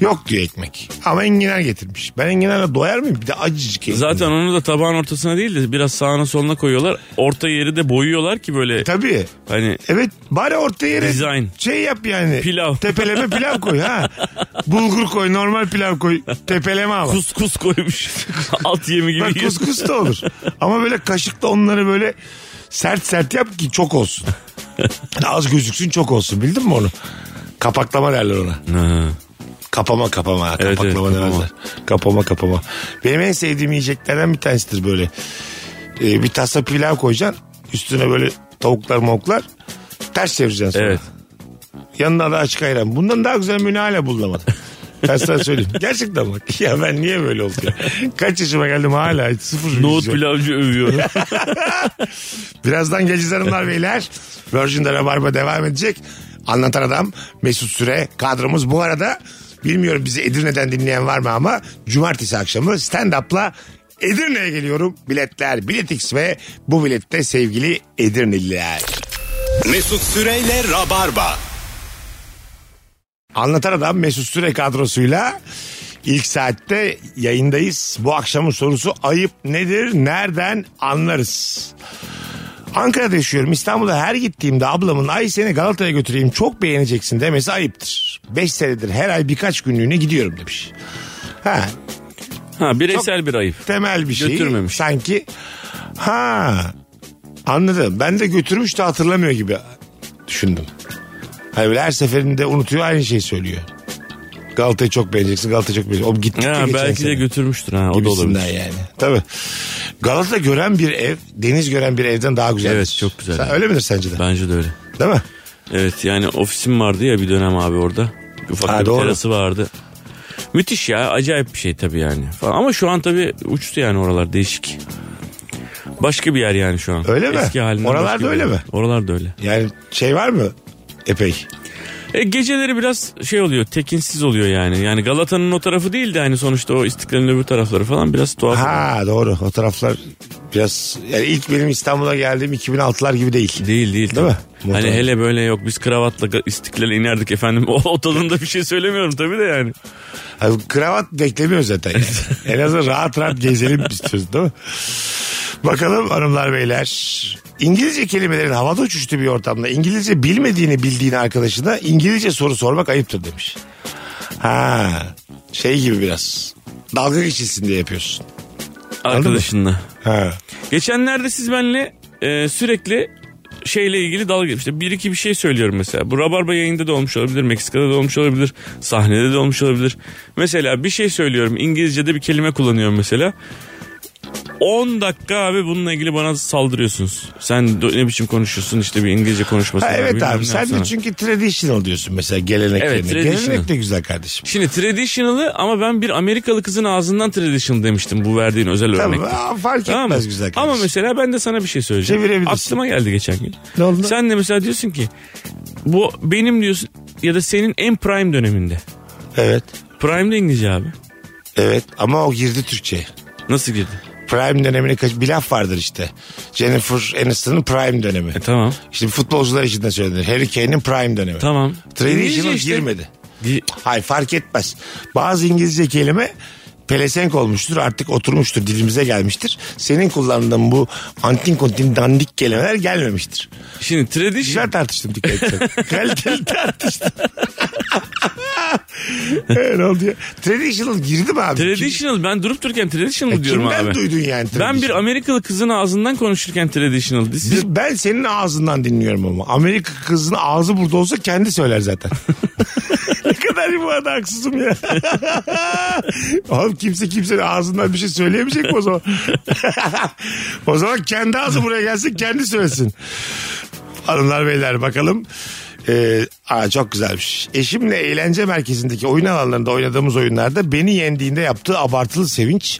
S3: Yok diyor ekmek. Ama enginar getirmiş. Ben enginarla doyar mıyım? Bir de acıcık enginar.
S4: zaten onu da tabağın ortasına değil de biraz sağına soluna koyuyorlar. Orta yeri de boyuyorlar ki böyle
S3: Tabii.
S4: hani
S3: Evet bari orta yere
S4: Design.
S3: şey yap yani.
S4: Pilav.
S3: Tepeleme pilav koy ha. Bulgur koy normal pilav koy. Tepeleme ama.
S4: kuskus koymuş. Alt yemi gibi.
S3: Bak
S4: yiyor.
S3: kuskus da olur. Ama böyle kaşıkla onları böyle sert sert yap ki çok olsun. Yani Az gözüksün çok olsun bildin mi onu? Kapaklama derler ona.
S4: Ha.
S3: Kapama kapama. ha,
S4: Evet,
S3: Kapaklama
S4: evet, kapama.
S3: demezler. Kapama kapama. Benim en sevdiğim yiyeceklerden bir tanesidir böyle. Ee, bir tasa pilav koyacaksın. Üstüne böyle tavuklar mavuklar. Ters çevireceksin sonra.
S4: Evet.
S3: Yanına da açık ayran. Bundan daha güzel menü hala bulunamadı. Ben sana söyleyeyim. Gerçekten bak. Ya ben niye böyle oldu ya? Kaç yaşıma geldim hala hiç sıfır
S4: Nohut
S3: vizyon.
S4: pilavcı övüyor.
S3: Birazdan geleceğiz hanımlar beyler. Virgin'de Rabarba devam edecek. Anlatan adam Mesut Süre kadromuz. Bu arada bilmiyorum bizi Edirne'den dinleyen var mı ama cumartesi akşamı stand-up'la Edirne'ye geliyorum. Biletler Biletix ve bu bilette sevgili Edirneliler.
S2: Mesut Süreyle Rabarba.
S3: Anlatan Adam Mesut Süre kadrosuyla ilk saatte yayındayız. Bu akşamın sorusu ayıp nedir, nereden anlarız? Ankara'da yaşıyorum. İstanbul'a her gittiğimde ablamın ay seni Galata'ya götüreyim çok beğeneceksin demesi ayıptır. 5 senedir her ay birkaç günlüğüne gidiyorum demiş. Ha,
S4: ha bireysel bir ayıp.
S3: temel bir şey.
S4: Götürmemiş.
S3: Sanki. Ha. Anladım. Ben de götürmüş de hatırlamıyor gibi düşündüm. Hani böyle her seferinde unutuyor aynı şeyi söylüyor. Galata'yı çok beğeneceksin. Galata'yı çok beğeneceksin. O gittik ya,
S4: Ha,
S3: geçen
S4: belki de
S3: sene.
S4: götürmüştür ha o da
S3: Gibisinden
S4: olabilir.
S3: yani. Tabii. Galata gören bir ev, deniz gören bir evden daha güzel.
S4: Evet, çok güzel.
S3: Sen, öyle midir sence de?
S4: Bence de öyle.
S3: Değil mi?
S4: Evet yani ofisim vardı ya bir dönem abi orada. Ufak
S3: Ha,
S4: bir
S3: doğru.
S4: terası vardı. Müthiş ya acayip bir şey tabii yani. Falan. Ama şu an tabii uçtu yani oralar değişik. Başka bir yer yani şu an.
S3: Öyle mi?
S4: Eski halinden
S3: Oralar
S4: başka
S3: da
S4: bir
S3: öyle
S4: yer.
S3: mi?
S4: Oralar da öyle.
S3: Yani şey var mı? Epey.
S4: E, geceleri biraz şey oluyor tekinsiz oluyor yani. Yani Galata'nın o tarafı değil de hani sonuçta o İstiklal'in öbür tarafları falan biraz tuhaf.
S3: Ha doğru. O taraflar biraz... Yani ilk benim İstanbul'a geldiğim 2006'lar gibi değil.
S4: Değil değil.
S3: Değil mi?
S4: tabii. Hani
S3: Muhtemelen.
S4: hele böyle yok biz kravatla ga- istiklale inerdik efendim. O, o tadında bir şey söylemiyorum tabii de yani.
S3: Abi, kravat beklemiyor zaten. yani. en azından rahat rahat gezelim istiyoruz değil mi? Bakalım hanımlar beyler. İngilizce kelimelerin havada uçuştuğu bir ortamda İngilizce bilmediğini bildiğin arkadaşına İngilizce soru sormak ayıptır demiş. Ha şey gibi biraz. Dalga geçilsin diye yapıyorsun.
S4: Arkadaşınla.
S3: Ha.
S4: Geçenlerde siz benimle e, sürekli şeyle ilgili dalga geçti. İşte bir iki bir şey söylüyorum mesela. Bu Rabarba yayında da olmuş olabilir. Meksika'da da olmuş olabilir. Sahnede de olmuş olabilir. Mesela bir şey söylüyorum. İngilizce'de bir kelime kullanıyorum mesela. 10 dakika abi bununla ilgili bana saldırıyorsunuz. Sen do- ne biçim konuşuyorsun işte bir İngilizce konuşması.
S3: Ha,
S4: var,
S3: evet
S4: bilmem
S3: abi
S4: ne
S3: sen de
S4: yapsana.
S3: çünkü traditional diyorsun mesela geleneklerine.
S4: Evet, traditional.
S3: Gelenek de güzel kardeşim.
S4: Şimdi traditional'ı ama ben bir Amerikalı kızın ağzından traditional demiştim bu verdiğin özel
S3: Tamam,
S4: örnekte.
S3: aa, fark
S4: Tamam mı?
S3: etmez güzel kardeşim.
S4: Ama mesela ben de sana bir şey söyleyeceğim.
S3: Çevirebilirsin.
S4: Aklıma geldi geçen gün.
S3: Ne oldu?
S4: Sen de mesela diyorsun ki bu benim diyorsun ya da senin en prime döneminde.
S3: Evet.
S4: Prime de İngilizce abi.
S3: Evet ama o girdi Türkçe'ye.
S4: Nasıl girdi?
S3: Prime dönemini kaç bir laf vardır işte. Jennifer Aniston'ın prime dönemi.
S4: E tamam.
S3: İşte futbolcular için de söylenir. Harry Kane'in prime dönemi.
S4: Tamam.
S3: Traditional
S4: İngilizce işte.
S3: girmedi.
S4: Gi-
S3: Hayır fark etmez. Bazı İngilizce kelime pelesenk olmuştur artık oturmuştur dilimize gelmiştir. Senin kullandığın bu antin kontin dandik kelimeler gelmemiştir.
S4: Şimdi
S3: Güzel
S4: tradition
S3: tartıştım dikkat etsen. Kaliteli tartıştım. evet, ne oldu ya? Traditional girdi mi abi?
S4: Traditional ben durup dururken traditional
S3: E,
S4: diyorum
S3: kimden
S4: abi.
S3: duydun yani
S4: Ben
S3: traditional?
S4: bir Amerikalı kızın ağzından konuşurken traditional. This is
S3: Biz- ben senin ağzından dinliyorum ama. Amerika kızının ağzı burada olsa kendi söyler zaten. ne kadar bu arada haksızım ya. Oğlum kimse kimsenin ağzından bir şey söyleyemeyecek mi o zaman? o zaman kendi ağzı buraya gelsin kendi söylesin. Hanımlar beyler bakalım. Ee, Aa, çok güzelmiş. Eşimle eğlence merkezindeki oyun alanlarında oynadığımız oyunlarda beni yendiğinde yaptığı abartılı sevinç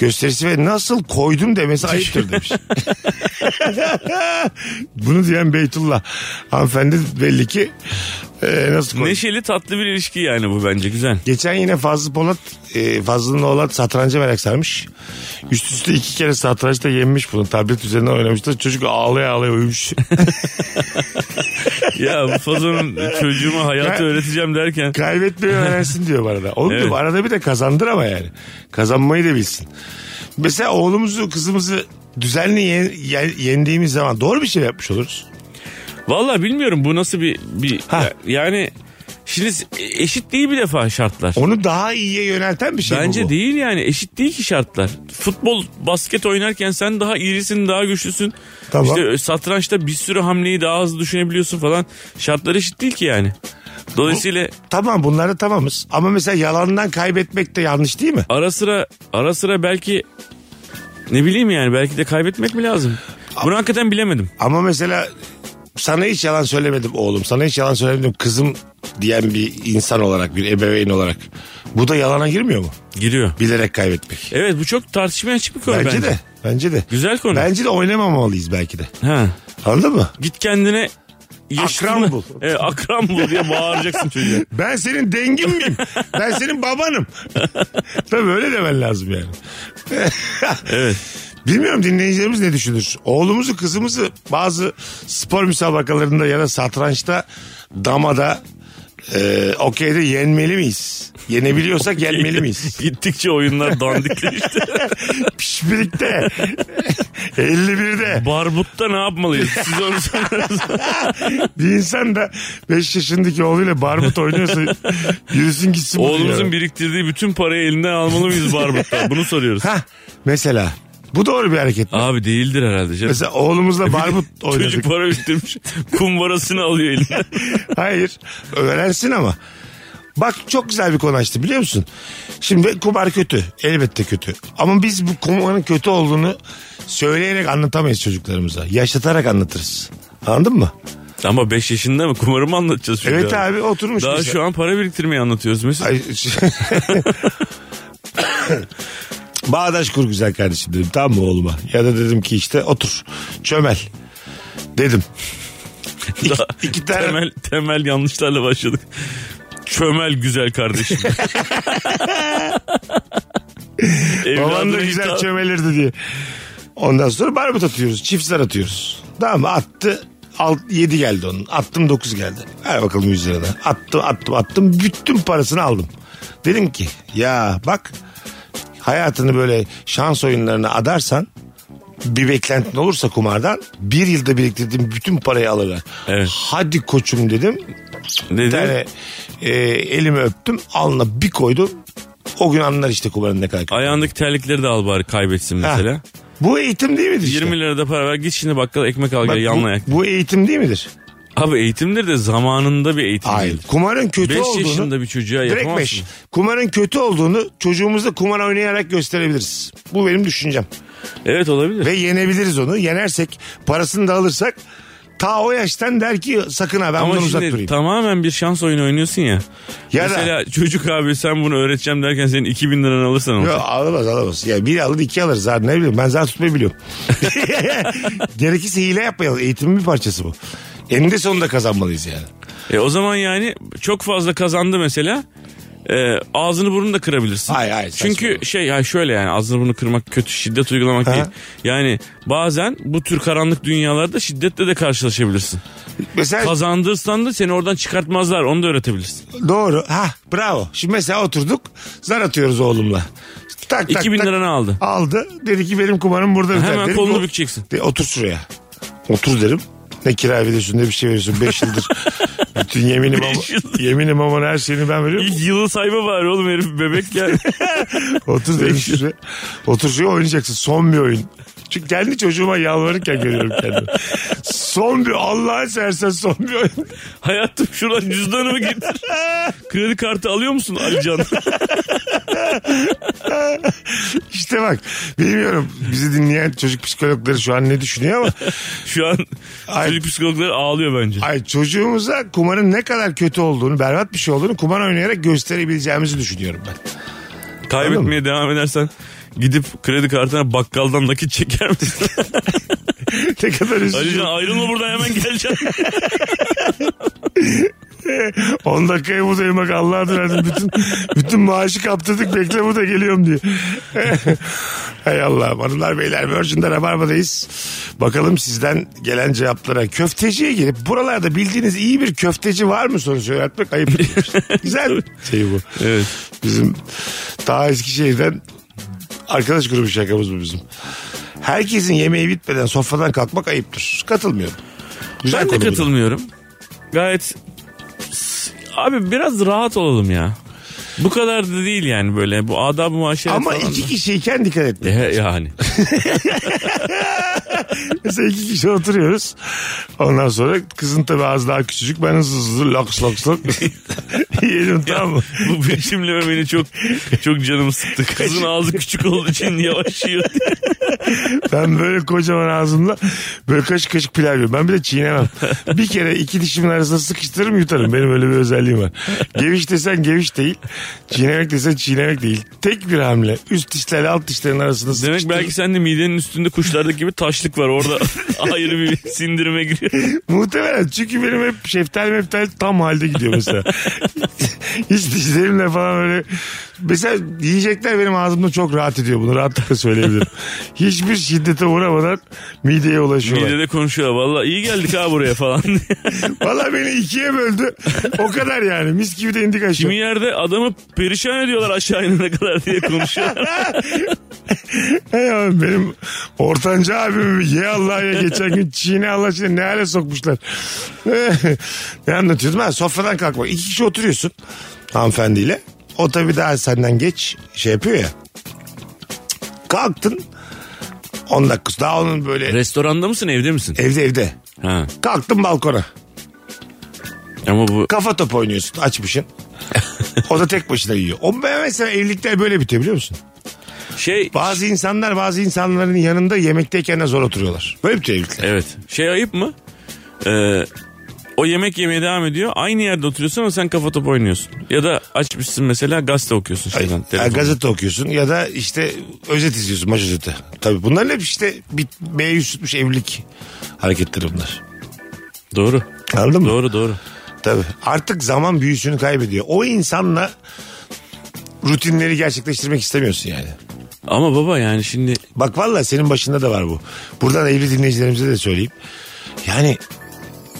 S3: gösterisi ve nasıl koydum demesi ayıptır demiş. Bunu diyen Beytullah hanımefendi belli ki e, nasıl koydum.
S4: Neşeli tatlı bir ilişki yani bu bence güzel.
S3: Geçen yine Fazlı Polat, e, Fazlı'nın oğlan satranca merak sarmış. Üst üste iki kere satrançta yenmiş bunu. Tablet üzerine oynamışlar. Çocuk ağlaya ağlaya uyumuş.
S4: Ya bu Fazon'un çocuğuma hayatı
S3: Ya-
S4: öğreteceğim derken
S3: Kaybetmeyi öğrensin diyor bana da. Oğlum
S4: Evet.
S3: diyorum, arada bir de kazandır ama yani. Kazanmayı da bilsin. Mesela oğlumuzu kızımızı düzenli ye- ye- yendiğimiz zaman doğru bir şey yapmış oluruz.
S4: Vallahi bilmiyorum bu nasıl bir bir
S3: Ha.
S4: yani şimdi e, eşit değil bir defa şartlar.
S3: Onu daha iyiye yönelten bir şey bu
S4: Bence
S3: bu.
S4: değil yani eşit değil ki şartlar. Futbol, basket oynarken sen daha irisin, daha güçlüsün.
S3: Tamam.
S4: İşte e, satrançta bir sürü hamleyi daha hızlı düşünebiliyorsun falan. Şartlar eşit değil ki yani. Dolayısıyla
S3: Tamam bunları tamamız. Ama mesela yalandan kaybetmek de yanlış değil mi?
S4: ara sıra ara sıra belki ne bileyim yani belki de kaybetmek mi lazım? Bunu hakikaten bilemedim.
S3: Ama mesela sana hiç yalan söylemedim oğlum. Sana hiç yalan söylemedim kızım diyen bir insan olarak, bir ebeveyn olarak. Bu da yalana girmiyor mu?
S4: Giriyor.
S3: Bilerek kaybetmek.
S4: Evet bu çok tartışmaya açık bir konu
S3: bence,
S4: bence.
S3: de. Bence de.
S4: Güzel konu.
S3: Bence de oynamamalıyız belki de.
S4: Ha.
S3: Anladın mı?
S4: Git kendine yaşlı-
S3: Akran bul.
S4: Evet, akran bul diye bağıracaksın çocuğa.
S3: Ben senin dengin miyim? ben senin babanım. Tabii öyle demen lazım yani.
S4: Evet.
S3: Bilmiyorum dinleyicilerimiz ne düşünür? Oğlumuzu kızımızı bazı spor müsabakalarında ya da satrançta damada e, okeyde yenmeli miyiz? Yenebiliyorsak yenmeli miyiz?
S4: Gittikçe oyunlar dandikleşti.
S3: Pişbirikte. 51'de.
S4: Barbutta ne yapmalıyız? Siz onu sorarız.
S3: Bir insan da 5 yaşındaki oğluyla barbut oynuyorsa yürüsün gitsin. bu dünyada.
S4: Oğlumuzun biriktirdiği bütün parayı elinden almalı mıyız barbutta? Bunu soruyoruz.
S3: Hah, mesela. Bu doğru bir hareket.
S4: Abi değildir herhalde canım.
S3: Mesela oğlumuzla barbut
S4: Çocuk
S3: oynadık.
S4: para biriktirmiş. Kumbarasını alıyor elinden.
S3: Hayır. Öğrensin ama. Bak çok güzel bir konu açtı biliyor musun? Şimdi kumar kötü. Elbette kötü. Ama biz bu kumarın kötü olduğunu söyleyerek anlatamayız çocuklarımıza. Yaşatarak anlatırız. Anladın mı?
S4: Ama 5 yaşında mı? Kumarı mı anlatacağız çocuğa?
S3: Evet abi, şey. oturmuş
S4: Daha
S3: bize.
S4: şu an para biriktirmeyi anlatıyoruz mesela.
S3: Ay, şey- Bağdaş kur güzel kardeşim dedim. Tamam mı oğluma? Ya da dedim ki işte otur. Çömel. Dedim. İki, iki tane
S4: Temel, temel yanlışlarla başladık. Çömel güzel kardeşim.
S3: Baban da
S4: Evladını
S3: güzel
S4: itham-
S3: çömelirdi diye. Ondan sonra barbut atıyoruz. Çift zar atıyoruz. Tamam mı? Attı. 7 geldi onun. Attım 9 geldi. Ver bakalım 100 lirada. Attım attım attım. Bütün parasını aldım. Dedim ki ya bak hayatını böyle şans oyunlarına adarsan bir beklentin olursa kumardan bir yılda biriktirdiğim bütün parayı alırlar.
S4: Evet.
S3: Hadi koçum dedim.
S4: Dedi.
S3: Bir tane e, elimi öptüm. Alnına bir koydum. O gün anlar işte kumarın ne kadar.
S4: Ayağındaki terlikleri de al bari kaybetsin mesela.
S3: Ha. Bu eğitim değil midir? işte?
S4: 20 lira da para ver git şimdi bakkala ekmek al
S3: Bak,
S4: gel yanına yak.
S3: bu, bu eğitim değil midir?
S4: Abi eğitimdir de zamanında bir eğitim
S3: Hayır.
S4: değil.
S3: Kumarın kötü
S4: 5
S3: olduğunu...
S4: yaşında bir çocuğa
S3: Direkt
S4: yapamazsın.
S3: beş. Kumarın kötü olduğunu çocuğumuzda kumar oynayarak gösterebiliriz. Bu benim düşüncem.
S4: Evet olabilir.
S3: Ve yenebiliriz onu. Yenersek parasını da alırsak ta o yaştan der ki sakın ha ben
S4: Ama
S3: bundan uzak
S4: şimdi
S3: durayım.
S4: tamamen bir şans oyunu oynuyorsun ya.
S3: Ya da-
S4: mesela çocuk abi sen bunu öğreteceğim derken senin 2000 liranı alırsan
S3: Yok,
S4: olacak.
S3: alamaz alamaz. Ya bir alır iki alır zaten ne bileyim ben zaten tutmayı biliyorum. Gerekirse hile yapmayalım. Eğitimin bir parçası bu. Eninde sonunda kazanmalıyız yani.
S4: E o zaman yani çok fazla kazandı mesela. E, ağzını burnunu da kırabilirsin.
S3: Hayır, hayır, saçma.
S4: Çünkü şey ya şöyle yani ağzını burnunu kırmak kötü şiddet uygulamak
S3: Ha.
S4: değil. Yani bazen bu tür karanlık dünyalarda şiddetle de karşılaşabilirsin.
S3: Mesela
S4: Kazandırsan da seni oradan çıkartmazlar onu da öğretebilirsin.
S3: Doğru. Ha bravo. Şimdi mesela oturduk zar atıyoruz oğlumla. Tak,
S4: 2000 liranı aldı.
S3: Aldı. Dedi ki benim kumarım burada biter.
S4: Hemen
S3: Dedim,
S4: kolunu
S3: "O-
S4: bükeceksin.
S3: De, otur şuraya. Otur derim. Ne kira veriyorsun ne bir şey veriyorsun. Beş yıldır bütün yeminim ama,
S4: Beş yıldır.
S3: yeminim ama her şeyini ben veriyorum.
S4: İlk yılı sayma var oğlum herif bebek ya.
S3: Otur derim şuraya. Otur şuraya oynayacaksın. Son bir oyun. Çünkü kendi çocuğuma yalvarırken görüyorum kendimi. Son bir Allah'a sersen son bir oyun.
S4: Hayatım şuradan cüzdanımı getir. Kredi kartı alıyor musun Ali Can?
S3: İşte bak bilmiyorum bizi dinleyen çocuk psikologları şu an ne düşünüyor ama
S4: Şu an
S3: Ay.
S4: çocuk psikologları ağlıyor bence.
S3: ay çocuğumuza kumarın ne kadar kötü olduğunu berbat bir şey olduğunu kumar oynayarak gösterebileceğimizi düşünüyorum ben. Anladın
S4: Kaybetmeye devam edersen gidip kredi kartına bakkaldan nakit çeker misin?
S3: ne kadar üzücü.
S4: Alican ayrılma buradan hemen geleceğim.
S3: 10 dakikaya buradayım bak Allah'a adına bütün, bütün maaşı kaptırdık bekle burada geliyorum diye. Hay Allah'ım hanımlar beyler Virgin'de Rabarba'dayız. Bakalım sizden gelen cevaplara. Köfteciye gelip buralarda bildiğiniz iyi bir köfteci var mı sorusu öğretmek ayıp. Güzel şey bu.
S4: evet.
S3: Bizim daha Eskişehir'den arkadaş grubu şakamız bu bizim. Herkesin yemeği bitmeden sofradan kalkmak ayıptır. Katılmıyorum. Güzel
S4: Ben de
S3: konu bu da.
S4: katılmıyorum. Gayet abi biraz rahat olalım ya. Bu kadar da değil yani böyle bu adab muaşeret
S3: Ama
S4: falan
S3: iki
S4: da.
S3: kişiyken dikkat et.
S4: E, yani.
S3: Mesela iki kişi oturuyoruz. Ondan sonra kızın tabii az daha küçücük. Ben hızlı hızlı loks loks loks. Yiyelim tamam mı?
S4: Bu bir cümleme beni çok çok canım sıktı. Kızın ağzı küçük olduğu için yavaş yiyor.
S3: Ben böyle kocaman ağzımla böyle kaşık kaşık pilav yiyorum. Ben bile çiğnemem. Bir kere iki dişimin arasına sıkıştırırım yutarım. Benim öyle bir özelliğim var. Geviş desen geviş değil. Çiğnemek desen çiğnemek değil. Tek bir hamle. Üst dişlerle alt dişlerin arasında
S4: Demek
S3: sıkıştırırım.
S4: belki sen de midenin üstünde kuşlardaki gibi taşlık var. Orada ayrı bir sindirime giriyor.
S3: Muhtemelen çünkü benim hep şeftal meftal tam halde gidiyor mesela. Hiç dişlerimle falan öyle. Mesela yiyecekler benim ağzımda çok rahat ediyor bunu rahatlıkla söyleyebilirim. Hiçbir şiddete uğramadan mideye ulaşıyorlar.
S4: Midede konuşuyor. Valla iyi geldik ha buraya falan.
S3: Valla beni ikiye böldü. O kadar yani mis gibi de indik aşağı.
S4: Kimi yerde adamı perişan ediyorlar aşağı inene kadar diye konuşuyorlar.
S3: Hey abi benim ortanca abimi ye Allah ya geçen gün Çin'e Allah aşkına ne hale sokmuşlar. ne anlatıyordum ha sofradan kalkma. İki kişi oturuyorsun hanımefendiyle. O tabii daha senden geç şey yapıyor ya. Kalktın 10 dakikası daha onun böyle
S4: Restoranda mısın evde misin?
S3: evde evde.
S4: Ha.
S3: Kalktın balkona.
S4: Ama bu
S3: Kafa topu oynuyorsun açmışsın. o da tek başına yiyor. O mesela evlilikler böyle bitiyor biliyor musun?
S4: şey
S3: Bazı insanlar bazı insanların yanında yemekteyken de zor oturuyorlar. Böyle bitiyor evlilikler.
S4: evet şey ayıp mı? Ee, o yemek yemeye devam ediyor. Aynı yerde oturuyorsun ama sen kafa topu oynuyorsun. Ya da açmışsın mesela gazete okuyorsun şeyden.
S3: Ya
S4: telefondan.
S3: gazete okuyorsun ya da işte özet izliyorsun maç özeti. Tabii bunların hep işte bitmeye tutmuş evlilik hareketleri bunlar.
S4: Doğru.
S3: Anladın mı?
S4: Doğru doğru.
S3: Tabii. Artık zaman büyüsünü kaybediyor. O insanla rutinleri gerçekleştirmek istemiyorsun yani.
S4: Ama baba yani şimdi
S3: Bak valla senin başında da var bu. Buradan evli dinleyicilerimize de söyleyeyim. Yani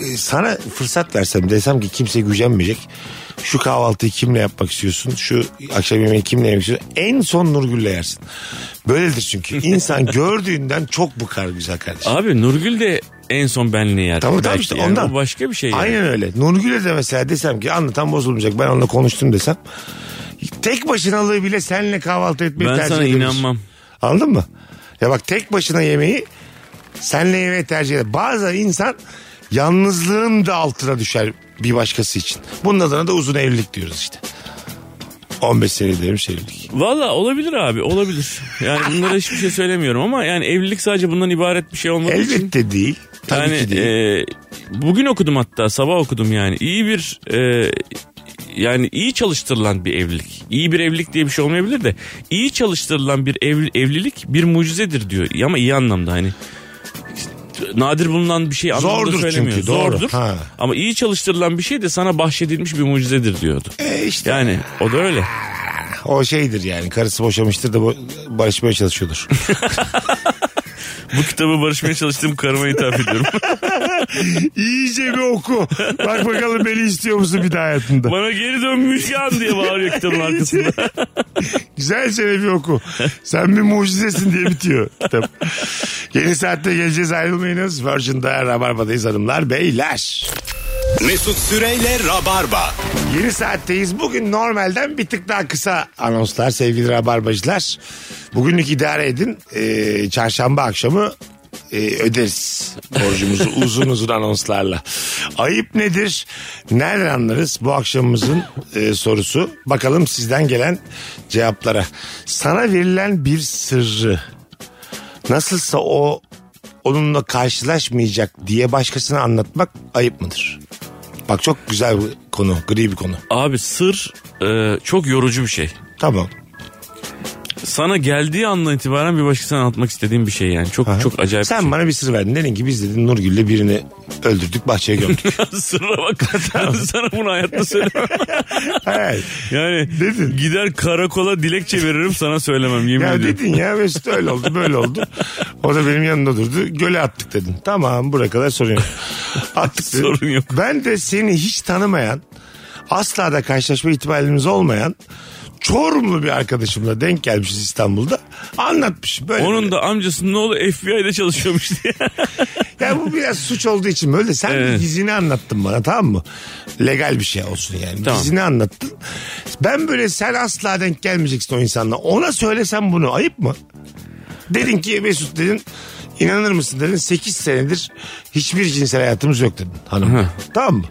S3: e, sana fırsat versem desem ki kimse gücenmeyecek. Şu kahvaltıyı kimle yapmak istiyorsun? Şu akşam yemeği kimle yemek istiyorsun? En son Nurgül'le yersin. Böyledir çünkü. İnsan gördüğünden çok bıkar güzel kardeşim.
S4: Abi Nurgül de en son benliği yer.
S3: Tamam, tamam
S4: Belki
S3: işte
S4: yani.
S3: ondan.
S4: Bu başka bir şey yani.
S3: Aynen öyle. Nurgül'e de mesela desem ki anlatan bozulmayacak ben onunla konuştum desem. Tek başınalığı bile seninle kahvaltı etmeyi
S4: Ben
S3: tercih
S4: sana
S3: ediyoruz.
S4: inanmam.
S3: Anladın mı? Ya bak tek başına yemeği senle yemeği tercih eder. Bazen insan yalnızlığın da altına düşer bir başkası için. Bunun adına da uzun evlilik diyoruz işte. 15 sene demiş evlilik.
S4: Valla olabilir abi olabilir. Yani bunlara hiçbir şey söylemiyorum ama yani evlilik sadece bundan ibaret bir şey olmadığı için.
S3: Elbette değil. Tabii
S4: yani,
S3: ki değil.
S4: e, bugün okudum hatta sabah okudum yani. İyi bir e, yani iyi çalıştırılan bir evlilik. İyi bir evlilik diye bir şey olmayabilir de iyi çalıştırılan bir ev- evlilik bir mucizedir diyor. Ama iyi anlamda hani. Nadir bulunan bir şey anlamında
S3: Zordur
S4: söylemiyor.
S3: çünkü, doğru.
S4: Zordur.
S3: Ha.
S4: Ama iyi çalıştırılan bir şey de sana bahşedilmiş bir mucizedir diyordu.
S3: E işte
S4: Yani o da öyle.
S3: o şeydir yani karısı boşamıştır da bo- barışmaya çalışıyordur.
S4: Bu kitabı barışmaya çalıştığım karıma ithaf ediyorum.
S3: İyice bir oku. Bak bakalım beni istiyor musun bir daha hayatında.
S4: Bana geri dönmüş yan diye bağırıyor kitabın arkasında.
S3: Güzelce de bir oku. Sen bir mucizesin diye bitiyor kitap. Yeni saatte geleceğiz ayrılmayınız. Virgin'de Rabarba'dayız hanımlar beyler.
S2: Mesut Süreyle Rabarba.
S3: Yeni saatteyiz. Bugün normalden bir tık daha kısa anonslar sevgili Rabarbacılar. Bugünlük idare edin. Ee, çarşamba akşamı e, öderiz borcumuzu uzun uzun anonslarla. Ayıp nedir? Nereden anlarız? Bu akşamımızın e, sorusu. Bakalım sizden gelen cevaplara. Sana verilen bir sırrı nasılsa o onunla karşılaşmayacak diye başkasına anlatmak ayıp mıdır? Bak çok güzel bir konu, gri bir konu.
S4: Abi sır e, çok yorucu bir şey.
S3: Tamam.
S4: Sana geldiği andan itibaren bir başkasına anlatmak istediğim bir şey yani. Çok çok acayip
S3: Sen
S4: bir şey.
S3: bana bir sır verdin. Dedin ki biz dedin Nurgül'le birini öldürdük bahçeye gömdük.
S4: Sırra bak. Ben sana bunu hayatta söylemem.
S3: Hayır.
S4: Yani
S3: Dedin.
S4: gider karakola dilekçe veririm sana söylemem yemin
S3: Ya
S4: ediyorum.
S3: dedin ya Mesut öyle oldu böyle oldu. O da benim yanımda durdu. Göle attık dedin. Tamam buraya kadar sorun yok. Attık dedin.
S4: Sorun yok.
S3: Ben de seni hiç tanımayan asla da karşılaşma ihtimalimiz olmayan Çorumlu bir arkadaşımla denk gelmişiz İstanbul'da. Anlatmış böyle.
S4: Onun da amcasının oğlu FBI'de çalışıyormuş diye.
S3: Ya bu biraz suç olduğu için böyle. Sen bir
S4: Evet.
S3: gizini anlattın bana tamam mı? Legal bir şey olsun yani.
S4: Tamam.
S3: Gizini anlattın. Ben böyle sen asla denk gelmeyeceksin o insanla. Ona söylesem bunu ayıp mı? Dedin ki Mesut dedin inanır mısın dedin 8 senedir hiçbir cinsel hayatımız yok dedin hanım.
S4: Hı.
S3: tamam mı?